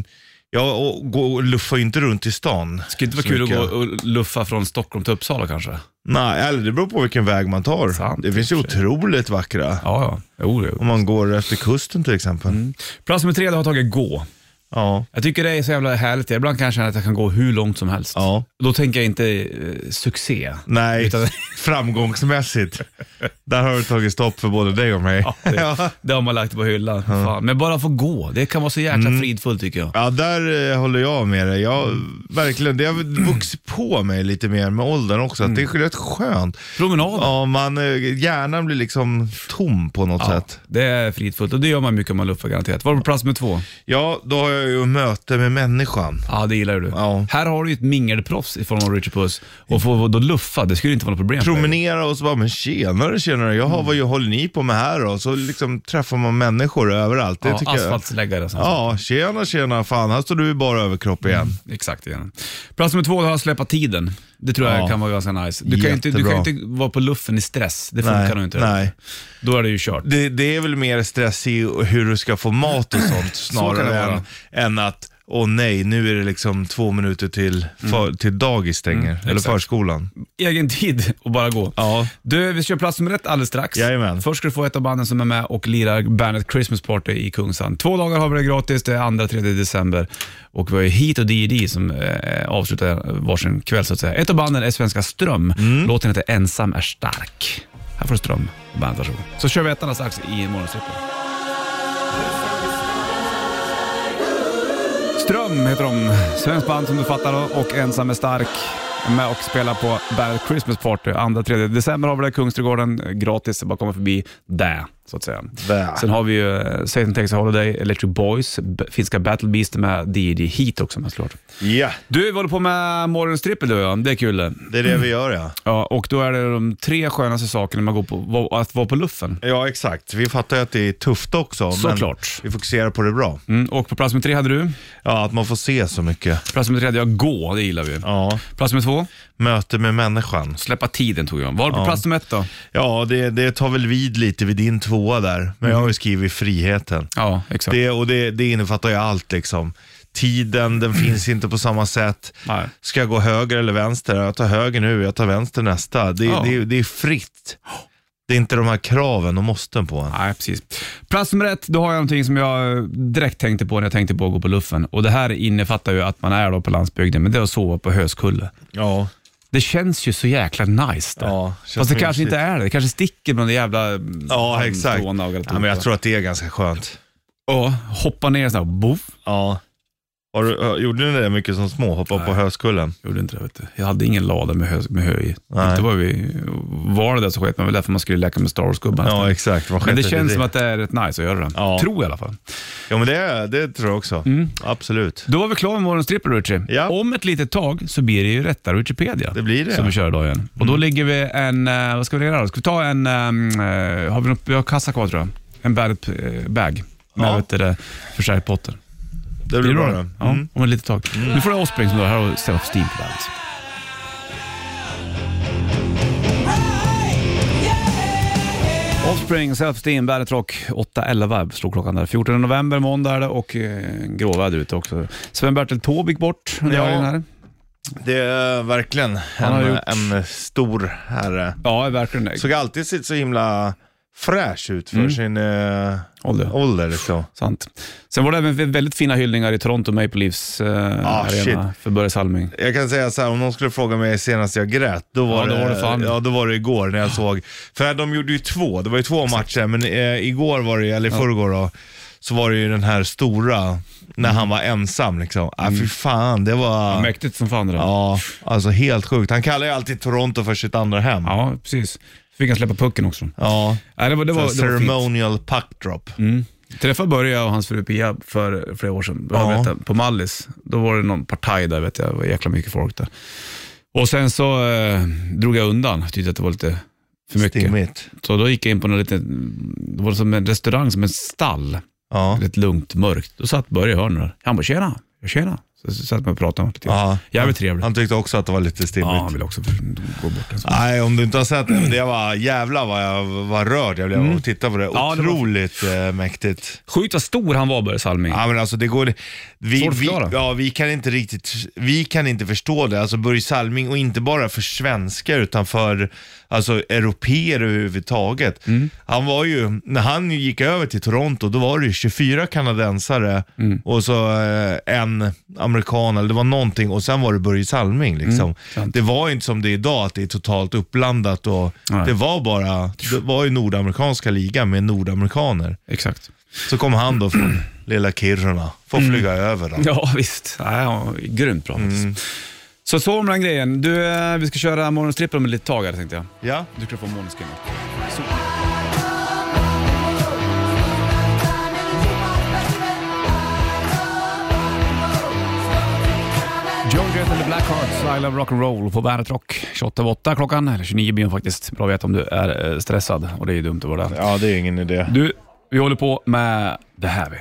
Speaker 3: jag och, gå- och luffar ju inte runt i stan.
Speaker 2: Det skulle inte vara
Speaker 3: så
Speaker 2: kul att
Speaker 3: mycket.
Speaker 2: gå och luffa från Stockholm till Uppsala kanske? Ja,
Speaker 3: Nej, eller det beror på vilken väg man tar.
Speaker 2: Sant,
Speaker 3: det finns ju
Speaker 2: i och för sig.
Speaker 3: otroligt vackra.
Speaker 2: ja. Jo, jo.
Speaker 3: Om man går efter kusten till exempel.
Speaker 2: Mm. Plats nummer tre, det har tagit gå.
Speaker 3: Ja.
Speaker 2: Jag tycker det är så jävla härligt. Ibland kan jag känna att jag kan gå hur långt som helst.
Speaker 3: Ja.
Speaker 2: Då tänker jag inte eh, succé.
Speaker 3: Nej,
Speaker 2: Utan-
Speaker 3: framgångsmässigt. Där har du tagit stopp för både dig och mig.
Speaker 2: Det, det har man lagt på hyllan. Fan. Men bara få gå, det kan vara så jäkla
Speaker 3: Mm.
Speaker 2: fridfullt tycker jag.
Speaker 3: Ja, där eh, håller jag med dig. Jag, verkligen, det har vuxit på mig lite mer med åldern också. Att det
Speaker 2: Mm.
Speaker 3: är rätt skönt.
Speaker 2: Promenader.
Speaker 3: Ja, man, eh, hjärnan blir liksom tom på något
Speaker 2: Ja,
Speaker 3: sätt.
Speaker 2: det är fridfullt och det gör man mycket om man luffar garanterat. Var du på plats med två?
Speaker 3: Ja, då har jag ju möte med människan.
Speaker 2: Ja, det gillar ju du.
Speaker 3: Ja.
Speaker 2: Här har du ju ett mingelproffs i form av Richard Puss. Och få då luffa, det skulle ju inte vara något problem. för dig.
Speaker 3: Promenera och så bara, men tjenare, tjenare, jaha,
Speaker 2: Mm.
Speaker 3: vad håller ni på med här då? Så liksom träffar man människor överallt. Det
Speaker 2: Ja,
Speaker 3: tycker jag.
Speaker 2: asfaltsläggare. sen.
Speaker 3: Ja, tjena, tjena, fan, här står du i bara överkropp igen.
Speaker 2: Exakt igen. Plats nummer två, då har jag släppa tiden. Det tror jag
Speaker 3: Ja.
Speaker 2: kan vara ganska nice. Du kan, ju inte, du kan
Speaker 3: Jättebra.
Speaker 2: ju inte vara på luffen i stress. Det Mm, funkar
Speaker 3: Nej,
Speaker 2: nog inte.
Speaker 3: nej.
Speaker 2: Då är det ju kört.
Speaker 3: Det, det är väl mer stress i hur du ska få mat och sånt
Speaker 2: kan det
Speaker 3: snarare
Speaker 2: vara.
Speaker 3: än, än att åh nej, nu är det liksom två minuter till, för, till dagis stänger, eller
Speaker 2: Mm. exakt.
Speaker 3: förskolan.
Speaker 2: Egen tid och bara gå.
Speaker 3: Ja.
Speaker 2: Du, vi kör plats nummer ett alldeles strax.
Speaker 3: Jajamän.
Speaker 2: Först ska du få ett av banden som är med och lirar bandet Christmas Party i Kungsan. Två dagar har vi det gratis, det är 2-3 december. Och vi har ju Heat och D&D som eh, avslutar varsin kväll så att säga. Ett av banden är svenska Ström. Låten heter Ensam är stark. Här får du Ström, bandet, varsågod. Så kör vi ettan alldeles strax i morgonstrippen. Ström heter de. Svenskt band som du fattar då, och Ensam är stark. Med och spelar på Bandet Christmas Party 2-3 december har vi det i Kungsträdgården. Gratis, bara komma förbi där så att säga.
Speaker 3: Där.
Speaker 2: Sen har vi ju eh, Satan Takes a Holiday, Electric Boys, b- finska Battle Beast med D&D Heat också men såklart.
Speaker 3: Ja,
Speaker 2: Du, vi håller på med morgonstrippel du och jag. Det är kul.
Speaker 3: det är det vi gör ja.
Speaker 2: Ja, och då är det de tre skönaste sakerna man går på, va- att vara på luffen.
Speaker 3: Ja, exakt. Vi fattar ju att det är tufft också,
Speaker 2: Såklart.
Speaker 3: men vi fokuserar på det bra.
Speaker 2: Mm, och på plats nummer tre hade du.
Speaker 3: Ja, att man får se så mycket.
Speaker 2: Plats nummer tre hade jag gå, det gillar vi.
Speaker 3: Ja,
Speaker 2: Plats nummer två,
Speaker 3: möte med människan.
Speaker 2: släppa tiden tog jag. Var på plats nummer ett då?
Speaker 3: Ja, det, det tar väl vid lite vid din tvåa där, men jag
Speaker 2: Mm.
Speaker 3: har ju skrivit friheten.
Speaker 2: Ja, exakt.
Speaker 3: Det, och det, det innefattar ju allt liksom. Tiden, den finns inte på samma sätt.
Speaker 2: Mm. Nej.
Speaker 3: Ska jag gå höger eller vänster? Jag tar höger nu, jag tar vänster nästa. Det,
Speaker 2: Ja.
Speaker 3: det, det är fritt. Det är inte de här kraven och måsten på en.
Speaker 2: Nej, precis. Plats nummer ett, då har jag någonting som jag eh, direkt tänkte på när jag tänkte på att gå på luffen. Och Det här innefattar ju att man är då på landsbygden, men det är att sova på höskulle.
Speaker 3: Ja,
Speaker 2: Det känns ju så jäkla nice det.
Speaker 3: Ja,
Speaker 2: Fast
Speaker 3: känns
Speaker 2: det
Speaker 3: mysigt.
Speaker 2: kanske inte är det. Det kanske sticker bland det jävla mm,
Speaker 3: ja exakt.
Speaker 2: tårna och
Speaker 3: Ja, men jag tror att det är ganska skönt.
Speaker 2: Och hoppa ner sådär, boff.
Speaker 3: Ja. Har du, ö, gjorde ni det mycket som små? Hoppa på höskullen?
Speaker 2: Gjorde inte det, vet du. Jag hade ingen lada med hö, med hö i.
Speaker 3: Nej.
Speaker 2: Inte var, vi, var det det som skett, men det var därför man skulle leka med Star Wars-gubbarna.
Speaker 3: Ja, exakt. Vad
Speaker 2: men det
Speaker 3: skett i
Speaker 2: känns som att det är rätt nice att göra det.
Speaker 3: Ja.
Speaker 2: Tror jag i alla fall.
Speaker 3: Ja, men det, det tror jag också.
Speaker 2: Mm.
Speaker 3: Absolut.
Speaker 2: Då var vi klara med morgonens trippel, Richie.
Speaker 3: Ja.
Speaker 2: Om ett litet tag så blir det ju rätta Wikipedia.
Speaker 3: Det blir det. Mm.
Speaker 2: Som vi kör idag igen. Och då ligger vi en, eh, vad ska vi göra då? Ska vi ta en, ehm, eh, har vi något, vi har kassa kvar tror jag. En bad, eh, bag med
Speaker 3: Ja.
Speaker 2: vet du, det, förstärkt botten.
Speaker 3: Det blir bra det.
Speaker 2: Ja,
Speaker 3: Mm.
Speaker 2: om ett litet tag. Nu får du Offspring som du hör här och Self Steam på bandet. Offspring, Self Steam, Bandet Rock. 8.11 slog klockan där. 14 november, måndag är det och eh, gråväder ute också. Sven-Bertil Taube gick bort under
Speaker 3: Ja.
Speaker 2: helgen här.
Speaker 3: Det är verkligen
Speaker 2: Han har
Speaker 3: en,
Speaker 2: gjort-
Speaker 3: en stor herre.
Speaker 2: Ja, verkligen.
Speaker 3: såg alltid sitt så himla fräsch ut
Speaker 2: Mm.
Speaker 3: för sin eh,
Speaker 2: Ålder.
Speaker 3: ålder. Liksom.
Speaker 2: Sant. Sen var det även väldigt fina hyllningar i Toronto Maple Leafs eh, arena
Speaker 3: Ah, shit.
Speaker 2: för Börje Salming.
Speaker 3: Jag kan säga så här, om någon skulle fråga mig senast jag grät, då var,
Speaker 2: Ja, då
Speaker 3: det,
Speaker 2: var det fan. Ah.
Speaker 3: ja, då var det igår när jag såg. För de gjorde ju två, det var ju två matcher, men eh, igår var det, eller i förrgår då, så var det ju den här stora, när han var ensam liksom. Ah, fy fan, det var...
Speaker 2: Mm. Mäktigt som fan det där.
Speaker 3: Ja, alltså helt sjukt. Han kallar ju alltid Toronto för sitt andra hem. Ja.
Speaker 2: ja, precis. Fick han släppa pucken också. Nej, det var, det var, det var fint. Mm.
Speaker 3: ceremonial puck drop.
Speaker 2: Träffade Börje och hans fru Pia för flera år sedan
Speaker 3: Ja.
Speaker 2: jag vet det, på Mallis. Då var det någon partaj där, vet jag. det var jäkla mycket folk där. Och sen så eh, drog jag undan, tyckte att det var lite för mycket.
Speaker 3: Stimmigt.
Speaker 2: Så då gick jag in på en liten, det var som en restaurang, som en stall.
Speaker 3: Ja.
Speaker 2: Rätt lugnt, mörkt. Då satt Börje i hörnet. där. Han bara, tjena, tjena. Så så satt man och pratade lite grann.
Speaker 3: Ja.
Speaker 2: Jävligt trevligt.
Speaker 3: Han tyckte också att det var lite stimmigt.
Speaker 2: ja, han ville också för, gå bort. alltså. en sån.
Speaker 3: Nej, om du inte har sett det. men Det var, jävlar vad jag var rörd jag blev av att titta på det.
Speaker 2: Mm. Ja, det var-
Speaker 3: Otroligt eh, mäktigt.
Speaker 2: Sjukt vad stor han var Börje Salming.
Speaker 3: Ja, men alltså det går... Vi,
Speaker 2: Svårt att
Speaker 3: vi,
Speaker 2: förklara.
Speaker 3: ja, vi kan inte riktigt... Vi kan inte förstå det. Alltså Börje Salming, och inte bara för svenskar utan för alltså, europeer överhuvudtaget.
Speaker 2: Mm.
Speaker 3: Han var ju... När han gick över till Toronto, då var det ju 24 kanadensare
Speaker 2: Mm.
Speaker 3: och så eh, en amerikan, eller det var någonting, och sen var det Börje Salming liksom.
Speaker 2: Mm. sant.
Speaker 3: det var ju inte som det är idag, att det är totalt uppblandat och
Speaker 2: Nej.
Speaker 3: det var bara... Det var ju nordamerikanska ligan med nordamerikaner.
Speaker 2: Exakt.
Speaker 3: Så kom han då från lilla Kiruna. Får
Speaker 2: Mm.
Speaker 3: flyga över då.
Speaker 2: Ja, visst. Nej, han var grymt bra faktiskt. Så så om den grejen. Du, eh, vi ska köra morgonstrippen om ett litet tag här, tänkte jag.
Speaker 3: Ja.
Speaker 2: Du ska få Måneskin. Joan Jett and the Blackhearts, I Love Rock'n'Roll på Bandet Rock. 28 över 8 klockan, eller 29 blir den faktiskt. Bra att veta om du är eh, stressad och det är dumt att vara det.
Speaker 3: Ja, det är ingen idé.
Speaker 2: Du, vi håller på med det här vi.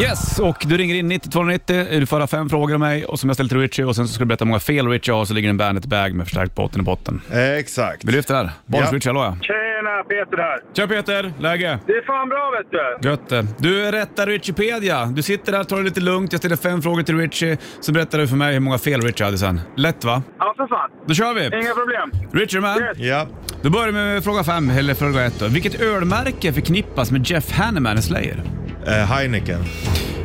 Speaker 2: Yes, och du ringer in 9290. Du får höra fem frågor av mig och som jag ställt till Richie och sen så ska du berätta hur många fel Richie har så ligger en Bandet bag med förstärkt botten i botten.
Speaker 3: exakt.
Speaker 2: Vi lyfter här. Bollens
Speaker 3: Ja.
Speaker 2: Richie, hallå ja.
Speaker 6: Tjena, Peter här.
Speaker 2: Tja Peter, läge?
Speaker 6: Det är fan bra vet du.
Speaker 2: Gött det. Du är rätta Richipedia. Du sitter där, tar det lite lugnt. Jag ställer fem frågor till Richie, så berättar du för mig hur många fel Richie hade sen. Lätt va?
Speaker 6: Ja, för fan.
Speaker 2: Då kör vi!
Speaker 6: Inga problem.
Speaker 2: Richie man.
Speaker 6: Yes.
Speaker 3: Ja.
Speaker 2: Då börjar vi med fråga fem, eller fråga ett då. Vilket ölmärke förknippas med Jeff Hanneman i Slayer?
Speaker 3: Eh, Heineken.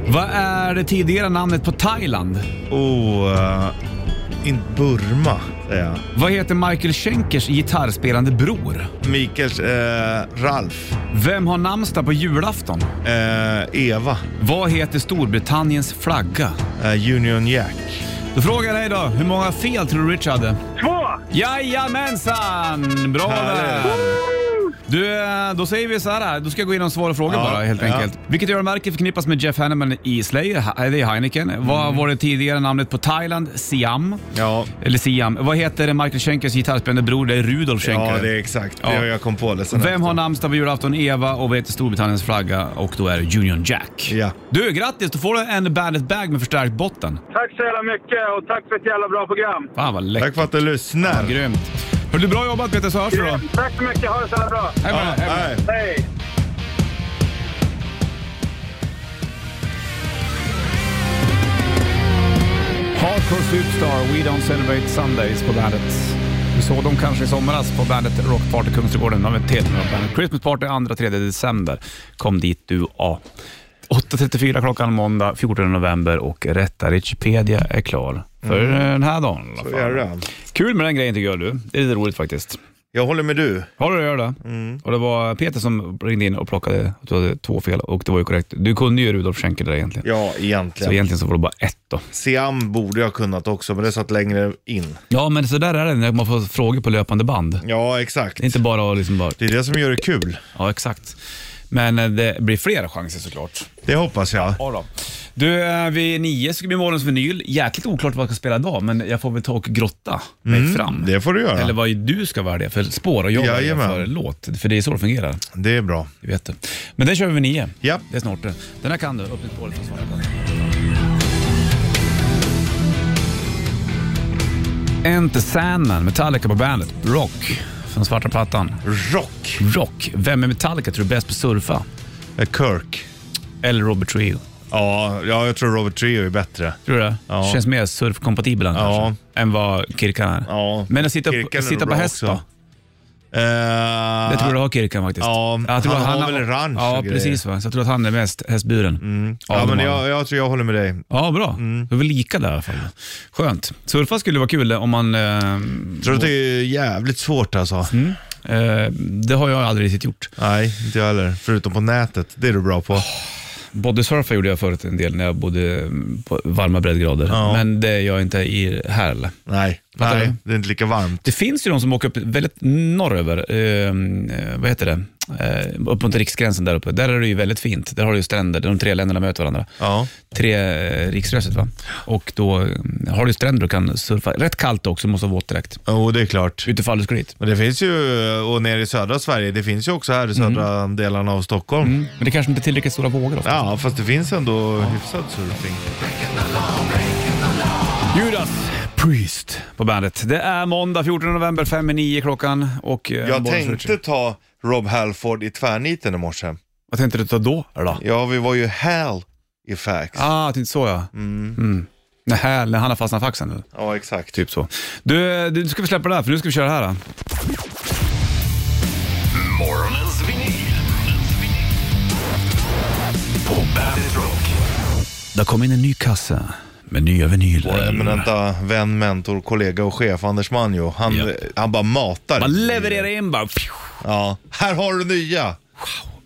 Speaker 2: Vad är det tidigare namnet på Thailand?
Speaker 3: Oh, eh, inte Burma, säger jag.
Speaker 2: Vad heter Michael Schenkers gitarrspelande bror?
Speaker 3: Mikaels, eh, Ralf,
Speaker 2: Vem har namnsdag på julafton?
Speaker 3: eh, Eva,
Speaker 2: Vad heter Storbritanniens flagga?
Speaker 3: eh, Union Jack.
Speaker 2: Då frågar jag dig då, hur många fel tror du Richard hade?
Speaker 6: Två!
Speaker 2: Jajamensan! Bra där!
Speaker 3: Härligt.
Speaker 2: Du, eh, då säger vi så här. Då ska jag gå igenom svar och frågor
Speaker 3: Ja,
Speaker 2: bara helt
Speaker 3: ja.
Speaker 2: enkelt. Vilket ölmärke förknippas med Jeff Hanneman i Slayer? Ha- eh, Det är Heineken.
Speaker 3: Mm.
Speaker 2: Vad var det tidigare namnet på Thailand? Siam.
Speaker 3: Ja,
Speaker 2: Eller Siam. Vad heter Michael Schenkers gitarrspelande bror? Det är Rudolf Schenker.
Speaker 3: ja det är exakt.
Speaker 2: Ja.
Speaker 3: Det, jag kom på det sen.
Speaker 2: Vem har
Speaker 3: efter.
Speaker 2: namnsdag på julafton? Eva och vad heter Storbritanniens flagga? Och då är det Union Jack.
Speaker 3: Ja.
Speaker 2: Du, grattis! Då får du en Bandet Bag med förstärkt botten.
Speaker 6: Tack så jävla mycket och tack för ett jävla bra program.
Speaker 2: Fan vad läckert.
Speaker 3: Tack för att du lyssnar.
Speaker 2: Grymt. Hörru du, bra jobbat Peter, så hörs vi då.
Speaker 6: Grymt. Tack så mycket. Ha det så jävla bra.
Speaker 2: Hej med
Speaker 3: Ja,
Speaker 2: dig, hej med dig.
Speaker 3: nej.
Speaker 6: Hej.
Speaker 2: Hardcore Superstar, We Don't Celebrate Sundays på bandet. Du såg dem kanske i somras på bandet Rock Party Kungsträdgården. De har ett helt nytt band. Christmas Party 2-3 december. Kom dit du ja. 8.34 klockan måndag 14 november och rätta Richipedia är klar för den här dagen. i alla
Speaker 3: Mm. Så
Speaker 2: fall.
Speaker 3: gör det.
Speaker 2: Kul med den grejen tycker jag du. Det är lite roligt faktiskt.
Speaker 3: Jag håller med du.
Speaker 2: Har du det? Gör det?
Speaker 3: Mm.
Speaker 2: Och det var Peter som ringde in och plockade att du hade två fel och det var ju korrekt. Du kunde ju Rudolf Schenker där egentligen.
Speaker 3: Ja,
Speaker 2: Så
Speaker 3: egentligen.
Speaker 2: egentligen så var det bara ett då.
Speaker 3: Siam borde jag kunnat också, men det satt längre in.
Speaker 2: Ja, men så där är det när man får frågor på löpande band.
Speaker 3: Ja, exakt.
Speaker 2: Inte bara att liksom bara...
Speaker 3: Det är det som gör det kul.
Speaker 2: Ja, exakt. Men eh, det blir flera chanser såklart.
Speaker 3: Det hoppas jag.
Speaker 2: Ja då. Du, eh, vid nio ska det bli morgons vinyl. Jäkligt oklart vad jag ska spela idag, men jag får väl ta och grotta mig fram.
Speaker 3: Mm, Det får du göra.
Speaker 2: Eller vad du ska välja för spår och jag väljer
Speaker 3: Jajamän.
Speaker 2: för låt. För det är så det fungerar.
Speaker 3: Det är bra.
Speaker 2: Det vet du. Men den kör vi vid nio.
Speaker 3: Ja.
Speaker 2: Det är snart det. Den här kan du. Upp med spåret från Svarta. Enter Sandman, Metallica på bandet. Rock, från svarta plattan.
Speaker 3: Rock.
Speaker 2: Rock. Vem är Metallica tror du bäst på surfa?
Speaker 3: Eh, Kirk.
Speaker 2: Eller Robert Trio?
Speaker 3: Ja, ja, jag tror Robert Trio är bättre. Eh,
Speaker 2: Tror du det?
Speaker 3: Ja.
Speaker 2: Känns mer surfkompatibel han
Speaker 3: Ja.
Speaker 2: kanske, än vad Kirkan är.
Speaker 3: Ja.
Speaker 2: Men att sitta,
Speaker 3: Kirkan är
Speaker 2: upp, sitta
Speaker 3: nog
Speaker 2: på
Speaker 3: bra
Speaker 2: häst
Speaker 3: också.
Speaker 2: då?
Speaker 3: Eh,
Speaker 2: Jag tror du har Kirkan faktiskt.
Speaker 3: Ja,
Speaker 2: jag tror
Speaker 3: han har väl en ranch och
Speaker 2: Ja,
Speaker 3: grejer. Mm.
Speaker 2: precis. Va? Så jag tror att han är mest hästburen.
Speaker 3: ja,
Speaker 2: de
Speaker 3: men
Speaker 2: har-
Speaker 3: jag, jag tror jag håller med dig.
Speaker 2: Ja, bra. Då är vi lika där i alla fall. Skönt. Surfa skulle vara kul om man... Eh,
Speaker 3: Jag tror att det är jävligt svårt alltså.
Speaker 2: eh, det har jag aldrig riktigt gjort.
Speaker 3: Nej, inte jag heller. Förutom på nätet. Det är du bra på.
Speaker 2: Bodysurfa gjorde jag förut en del när jag bodde mm, på varma breddgrader.
Speaker 3: Ja.
Speaker 2: Men det gör jag inte i här eller.
Speaker 3: Nej.
Speaker 2: Fattar
Speaker 3: Nej,
Speaker 2: du?
Speaker 3: det är inte lika varmt.
Speaker 2: Det finns ju de som åker upp väldigt norröver. ehm, Eh, vad heter det? Eh, upp mot riksgränsen där uppe. Där är det ju väldigt fint. Där har du ju stränder. där De tre länderna möter varandra.
Speaker 3: Ja.
Speaker 2: Tre eh, riksgränset va? Och då mm, har du stränder och kan surfa. Rätt kallt också, måste ha våtdräkt.
Speaker 3: Jo, det är klart.
Speaker 2: Utifall du skulle dit.
Speaker 3: Men det finns ju, och nere i södra Sverige, det finns ju också
Speaker 2: Mm.
Speaker 3: här i södra delarna av Stockholm.
Speaker 2: Men det kanske inte är tillräckligt stora vågor ofta.
Speaker 3: Ja, fast det finns ändå hyfsad surfing.
Speaker 2: Judas Priest på bandet. Det är måndag 14 november, fem i nio klockan. Och, eh,
Speaker 3: Jag
Speaker 2: Bollnäs
Speaker 3: tänkte
Speaker 2: Ritchie.
Speaker 3: ta Rob Halford i tvärniten i morse.
Speaker 2: Vad tänkte du ta då? då?
Speaker 3: Ja, vi var ju hell i fax.
Speaker 2: Ah, jag tänkte så ja. Mm. När, här, när han har fastnat i faxen nu.
Speaker 3: Ja, exakt.
Speaker 2: Typ så. Du, du, nu ska vi släppa det här för nu ska vi köra det här. Då.
Speaker 7: Morgonens vinyl. På Bandit Rock.
Speaker 2: Det kom in en ny kasse med nya vinyler.
Speaker 3: Eh, Men vänta, vän, mentor, kollega och chef Anders Manjo. Han,
Speaker 2: Japp.
Speaker 3: han bara matar.
Speaker 2: Man levererar in bara.
Speaker 3: Ja. Här har du nya!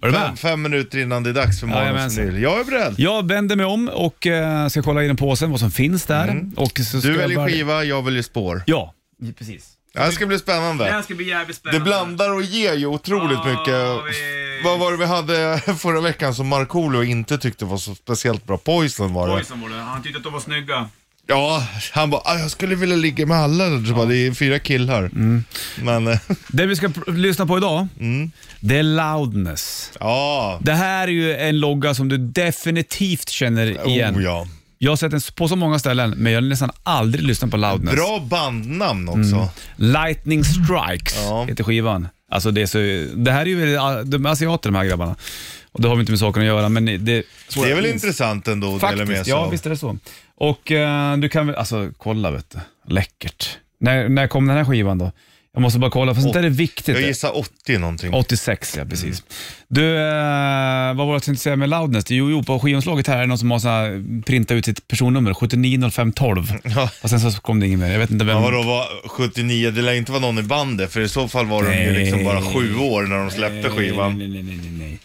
Speaker 2: Är du
Speaker 3: Fem,
Speaker 2: med?
Speaker 3: fem minuter innan det är dags för morgonens
Speaker 2: Jajamensan.
Speaker 3: vinyl. Jag är beredd.
Speaker 2: Jag vänder mig om och eh, ska kolla in i påsen vad som finns där. Och så ska
Speaker 3: Mm. Du
Speaker 2: jag
Speaker 3: väljer
Speaker 2: bara-
Speaker 3: skiva, jag väljer spår.
Speaker 2: Ja, precis.
Speaker 3: Det här ska bli spännande.
Speaker 2: ska bli jävligt
Speaker 3: Det blandar och ger ju otroligt mycket.
Speaker 2: vi-
Speaker 3: Vad var det vi hade förra veckan som Markoolio inte tyckte var så speciellt bra? Poison var det.
Speaker 2: Han tyckte att de var snygga.
Speaker 3: Ja, han bara, "Ah, jag skulle vilja ligga med alla. Så bara, det är fyra killar.
Speaker 2: Mm.
Speaker 3: Men, eh,
Speaker 2: Det vi ska pr- lyssna på idag,
Speaker 3: Mm.
Speaker 2: det är Loudness.
Speaker 3: ja.
Speaker 2: Det här är ju en logga som du definitivt känner igen.
Speaker 3: Oh, ja.
Speaker 2: Jag har sett den på så många ställen, men jag har nästan aldrig lyssnat på Loudness.
Speaker 3: Bra bandnamn
Speaker 2: Mm.
Speaker 3: också.
Speaker 2: Lightning Strikes
Speaker 3: Ja.
Speaker 2: heter skivan. Alltså det, är så, det här är ju eh, de är asiater de här grabbarna. Och det har väl inte med saken att göra, men det... Det
Speaker 3: Det är väl intressant ändå att dela med
Speaker 2: Faktiskt,
Speaker 3: sig
Speaker 2: ja
Speaker 3: av.
Speaker 2: visst är det så. Och eh, du kan väl, alltså kolla vet du. Läckert. När, när kom den här skivan då? Jag måste bara kolla, för sånt där är viktigt.
Speaker 3: Jag gissar Mm. 80 någonting.
Speaker 2: 86 ja, precis. Du, eh, vad var det jag tänkte säga med loudness? Jo, jo på skivomslaget här är det någon som har så här, printat ut sitt personnummer, 790512.
Speaker 3: Ja.
Speaker 2: Och sen så kom det inget mer. Jag vet inte vem.
Speaker 3: Ja, vadå, var 79? Det lär inte vara någon i bandet, för i så fall var de ju liksom bara sju år när de släppte skivan.
Speaker 2: Nej, nej, nej, nej, nej.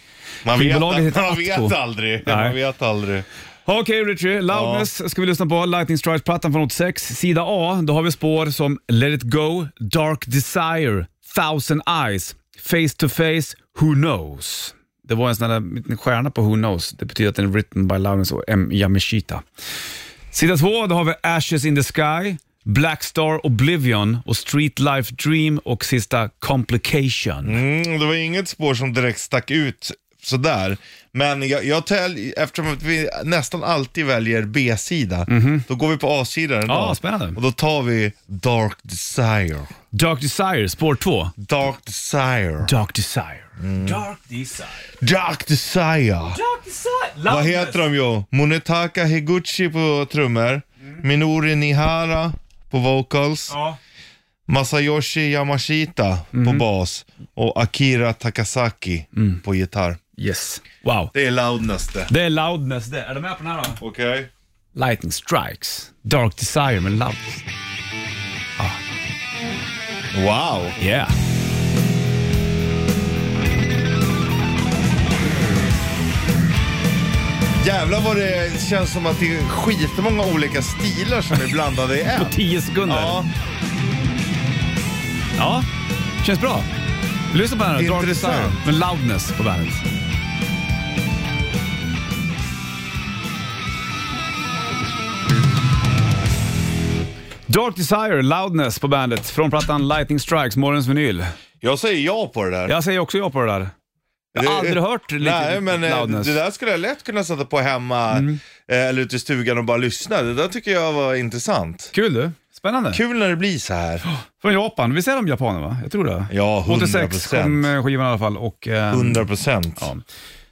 Speaker 3: Man vet,
Speaker 2: Skivbolaget heter
Speaker 3: man vet
Speaker 2: Atco.
Speaker 3: aldrig.
Speaker 2: Nej.
Speaker 3: Man vet aldrig.
Speaker 2: Okej Richie, Loudness ska vi lyssna på. Lightning Strikes-plattan från 86. Sida A, då har vi spår som Let It Go, Dark Desire, Thousand Eyes, Face to Face, Who Knows. Det var en sån där liten stjärna på Who Knows. Det betyder att den är written by Loudness och M. Yamashita. Sida 2, då har vi Ashes in the Sky, Black Star Oblivion och Street Life Dream och sista Complication.
Speaker 3: Mm, det var inget spår som direkt stack ut sådär. Men jag, jag täl, eftersom att vi nästan alltid väljer B-sida, då går vi på A-sidan idag.
Speaker 2: Mhm. Ja, spännande.
Speaker 3: Och då tar vi Dark Desire.
Speaker 2: Dark Desire, spår 2.
Speaker 3: Dark Desire.
Speaker 2: Dark Desire.
Speaker 3: Mm.
Speaker 2: Dark Desire.
Speaker 3: Dark Desire.
Speaker 2: Dark Desire!
Speaker 3: Vad heter de jo? Monetaka Higuchi på trummor, Minori Nihara på vocals,
Speaker 2: Ja.
Speaker 3: Masayoshi Yamashita
Speaker 2: Mhm.
Speaker 3: på bas och Akira Takasaki
Speaker 2: Mm.
Speaker 3: på gitarr.
Speaker 2: Yes. Wow.
Speaker 3: Det är loudness det.
Speaker 2: Det är loudness det. Är du med på den här då?
Speaker 3: Okej.
Speaker 2: Lightning strikes. Dark desire med loudness.
Speaker 3: Wow.
Speaker 2: Yeah.
Speaker 3: Jävlar vad det känns som att det är skitmånga olika stilar som är blandade i en.
Speaker 2: På 10 sekunder.
Speaker 3: Ja,
Speaker 2: Ja. Känns bra. Lyssna på den här. Dark
Speaker 3: Intressant.
Speaker 2: desire med loudness på bandet. Dark Desire, Loudness på bandet från plattan Lightning Strikes, morgons vinyl.
Speaker 3: jag säger ja på det där.
Speaker 2: Jag säger också ja på det där. Jag har
Speaker 3: Det-
Speaker 2: aldrig hört lite
Speaker 3: Nej, men eh,
Speaker 2: loudness. Mm.
Speaker 3: det där skulle jag lätt kunna sätta på hemma eh, eller ute i stugan och bara lyssna. Det där tycker jag var intressant.
Speaker 2: Kul du. Spännande.
Speaker 3: Kul när det blir så här.
Speaker 2: Från Japan. Vi säger de japaner va? Jag tror det.
Speaker 3: Ja, 100%.
Speaker 2: 86 kom eh, skivan i alla fall. Och, eh,
Speaker 3: 100 procent.
Speaker 2: Ja.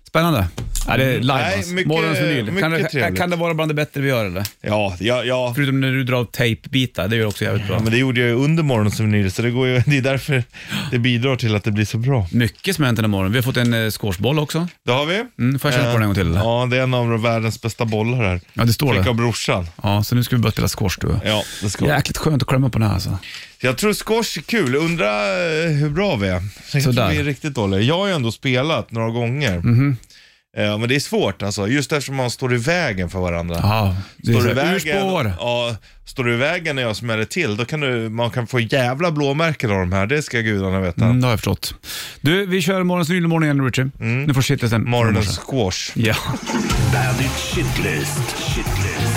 Speaker 2: Spännande. Ja, det är live
Speaker 3: Nej,
Speaker 2: alltså.
Speaker 3: mycket-
Speaker 2: Morgons vinyl.
Speaker 3: mycket
Speaker 2: Kan, det-
Speaker 3: trevligt.
Speaker 2: kan det vara bland det bättre vi gör eller?
Speaker 3: Ja, ja, ja.
Speaker 2: Förutom när du drar tejpbitar, det gör också jävligt bra.
Speaker 3: Men det gjorde jag ju under morgonen som vinyl, så det, går ju, det är därför det bidrar till att det blir så bra.
Speaker 2: Mycket som har hänt den här morgonen. Vi har fått en eh, squashboll också.
Speaker 3: Det har vi.
Speaker 2: Mm, får jag känna på den en gång till eller? Ja,
Speaker 3: Ja, det är en av världens bästa bollar här.
Speaker 2: det står
Speaker 3: Fick av
Speaker 2: det.
Speaker 3: brorsan.
Speaker 2: Ja, så nu ska vi börja spela squash du.
Speaker 3: Ja, det ska vara.
Speaker 2: Jäkligt skönt att klämma på den här alltså.
Speaker 3: Jag tror squash är kul. Undra eh, hur bra vi är. Jag tror
Speaker 2: Sådär. Mhm.
Speaker 3: vi är riktigt dåliga. Jag har ju ändå spelat några gånger. Eh, men det är svårt alltså, just eftersom man står i vägen för varandra.
Speaker 2: Ja, det är
Speaker 3: Står
Speaker 2: så
Speaker 3: du i
Speaker 2: här,
Speaker 3: vägen,
Speaker 2: urspår.
Speaker 3: ja, står du i vägen när jag smäller till, då kan du, man kan få jävla blåmärken av de här. Det ska gudarna veta.
Speaker 2: Mm, det har jag förstått. Du, vi kör morgonens Yllemorgon igen Richie. Nu får shitet sen.
Speaker 3: Mm. Morgonens squash.
Speaker 2: Ja.
Speaker 7: Bandit Shitlist. Shitlist.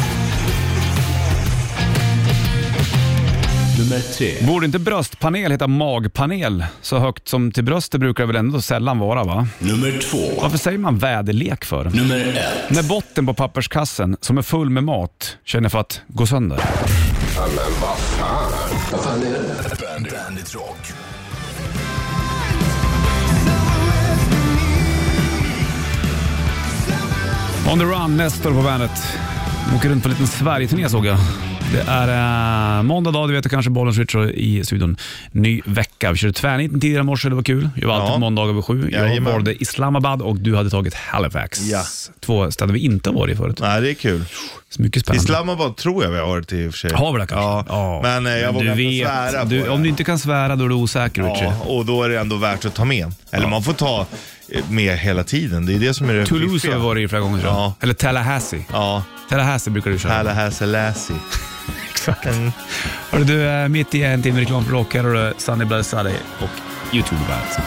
Speaker 1: Nummer tre.
Speaker 2: Borde inte bröstpanel heta magpanel? Så högt som till bröstet brukar det väl ändå sällan vara va?
Speaker 1: Nummer två.
Speaker 2: Varför säger man väderlek för?
Speaker 1: Nummer ett.
Speaker 2: När botten på papperskassen, som är full med mat, känner för att gå sönder.
Speaker 7: Bandit, Bandit Rock.
Speaker 2: On the run, Nestor på bandet. Åker runt på en liten Sverigeturné såg jag. Det är eh, måndag dag, du vet och kanske Bollens Richard i studion. Ny vecka. Vi körde tvärniten tidigare i morse, det var kul. Jag var alltid
Speaker 3: Ja.
Speaker 2: på måndag över sju. Jag
Speaker 3: Jajamän.
Speaker 2: valde Islamabad och du hade tagit Halifax.
Speaker 3: Ja.
Speaker 2: Två städer vi inte har varit i förut.
Speaker 3: Nej, det är kul.
Speaker 2: Så mycket spännande.
Speaker 3: Islamabad tror jag vi har varit i och för sig.
Speaker 2: Har vi det kanske?
Speaker 3: Ja, men eh, jag
Speaker 2: Men du
Speaker 3: vågar inte
Speaker 2: vet,
Speaker 3: svära
Speaker 2: du,
Speaker 3: på
Speaker 2: Om
Speaker 3: det.
Speaker 2: du inte kan svära då är du osäker Richard.
Speaker 3: Ja, och då är det ändå värt att ta med. Eller man får ta eh, med hela tiden. Det är det som är det
Speaker 2: Toulouse
Speaker 3: fiffiga.
Speaker 2: har vi varit i flera gånger tror jag.
Speaker 3: Ja.
Speaker 2: Eller Tallahassee.
Speaker 3: Ja,
Speaker 2: Tallahassee brukar du köra.
Speaker 3: Tallahassee
Speaker 2: Exakt. Hörru du, eh, mitt i en timme reklam för rock. Här har du Sunny Blood Sunday och YouTube Bandet.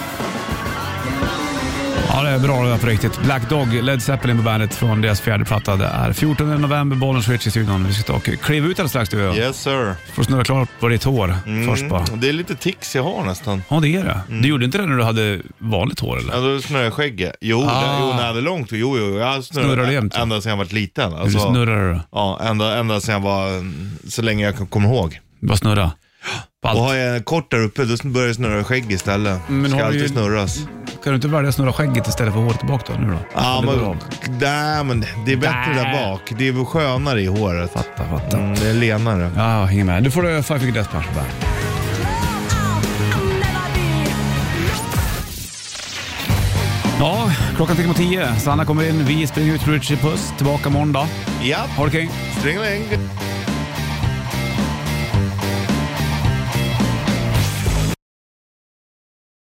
Speaker 2: Ja, det är bra det där på riktigt. Black Dog, Led Zeppelin på bandet från deras fjärde platta. Det är 14 november, bollen switch i studion. Vi ska ta och kliva ut alldeles strax du och jag.
Speaker 3: Yes sir.
Speaker 2: Får snurra klart på ditt hår
Speaker 3: Mm.
Speaker 2: först bara.
Speaker 3: Det är lite tics jag har nästan.
Speaker 2: Ja, det är det. Du gjorde inte det när du hade vanligt hår eller?
Speaker 3: Mm. Ja, då Alltså, snurrar jag skägget. Jo,
Speaker 2: Ah.
Speaker 3: det, jo, när jag hade långt Jo, jo, jag
Speaker 2: Snurrar du
Speaker 3: snurrar
Speaker 2: jämt?
Speaker 3: ända sedan jag var liten.
Speaker 2: Eller
Speaker 3: Alltså,
Speaker 2: snurrar du?
Speaker 3: Ja, ända, ända sedan jag var, så länge jag kan komma ihåg.
Speaker 2: Bara snurra? På
Speaker 3: Och
Speaker 2: allt.
Speaker 3: har jag en kort där uppe, då börjar jag snurra skägg istället.
Speaker 2: Men
Speaker 3: Ska
Speaker 2: har du
Speaker 3: alltid
Speaker 2: ju-
Speaker 3: snurras.
Speaker 2: Kan du inte välja att snurra skägget istället för håret bak då? Nu då?
Speaker 3: Ja,
Speaker 2: Eller
Speaker 3: men,
Speaker 2: bak?
Speaker 3: nej, men det är bättre
Speaker 2: Nä.
Speaker 3: där bak. Det är väl skönare i håret.
Speaker 2: Fatta, fatta.
Speaker 3: Mm, det är lenare.
Speaker 2: Ja, hänger med. Du får eh, du Five Finger Death Punch på bandet. Ja, klockan tickar mot tio. Sanna kommer in, vi springer ut, Richie Puss, tillbaka måndag.
Speaker 3: Ja,
Speaker 2: Ha det kring.
Speaker 3: stringeling.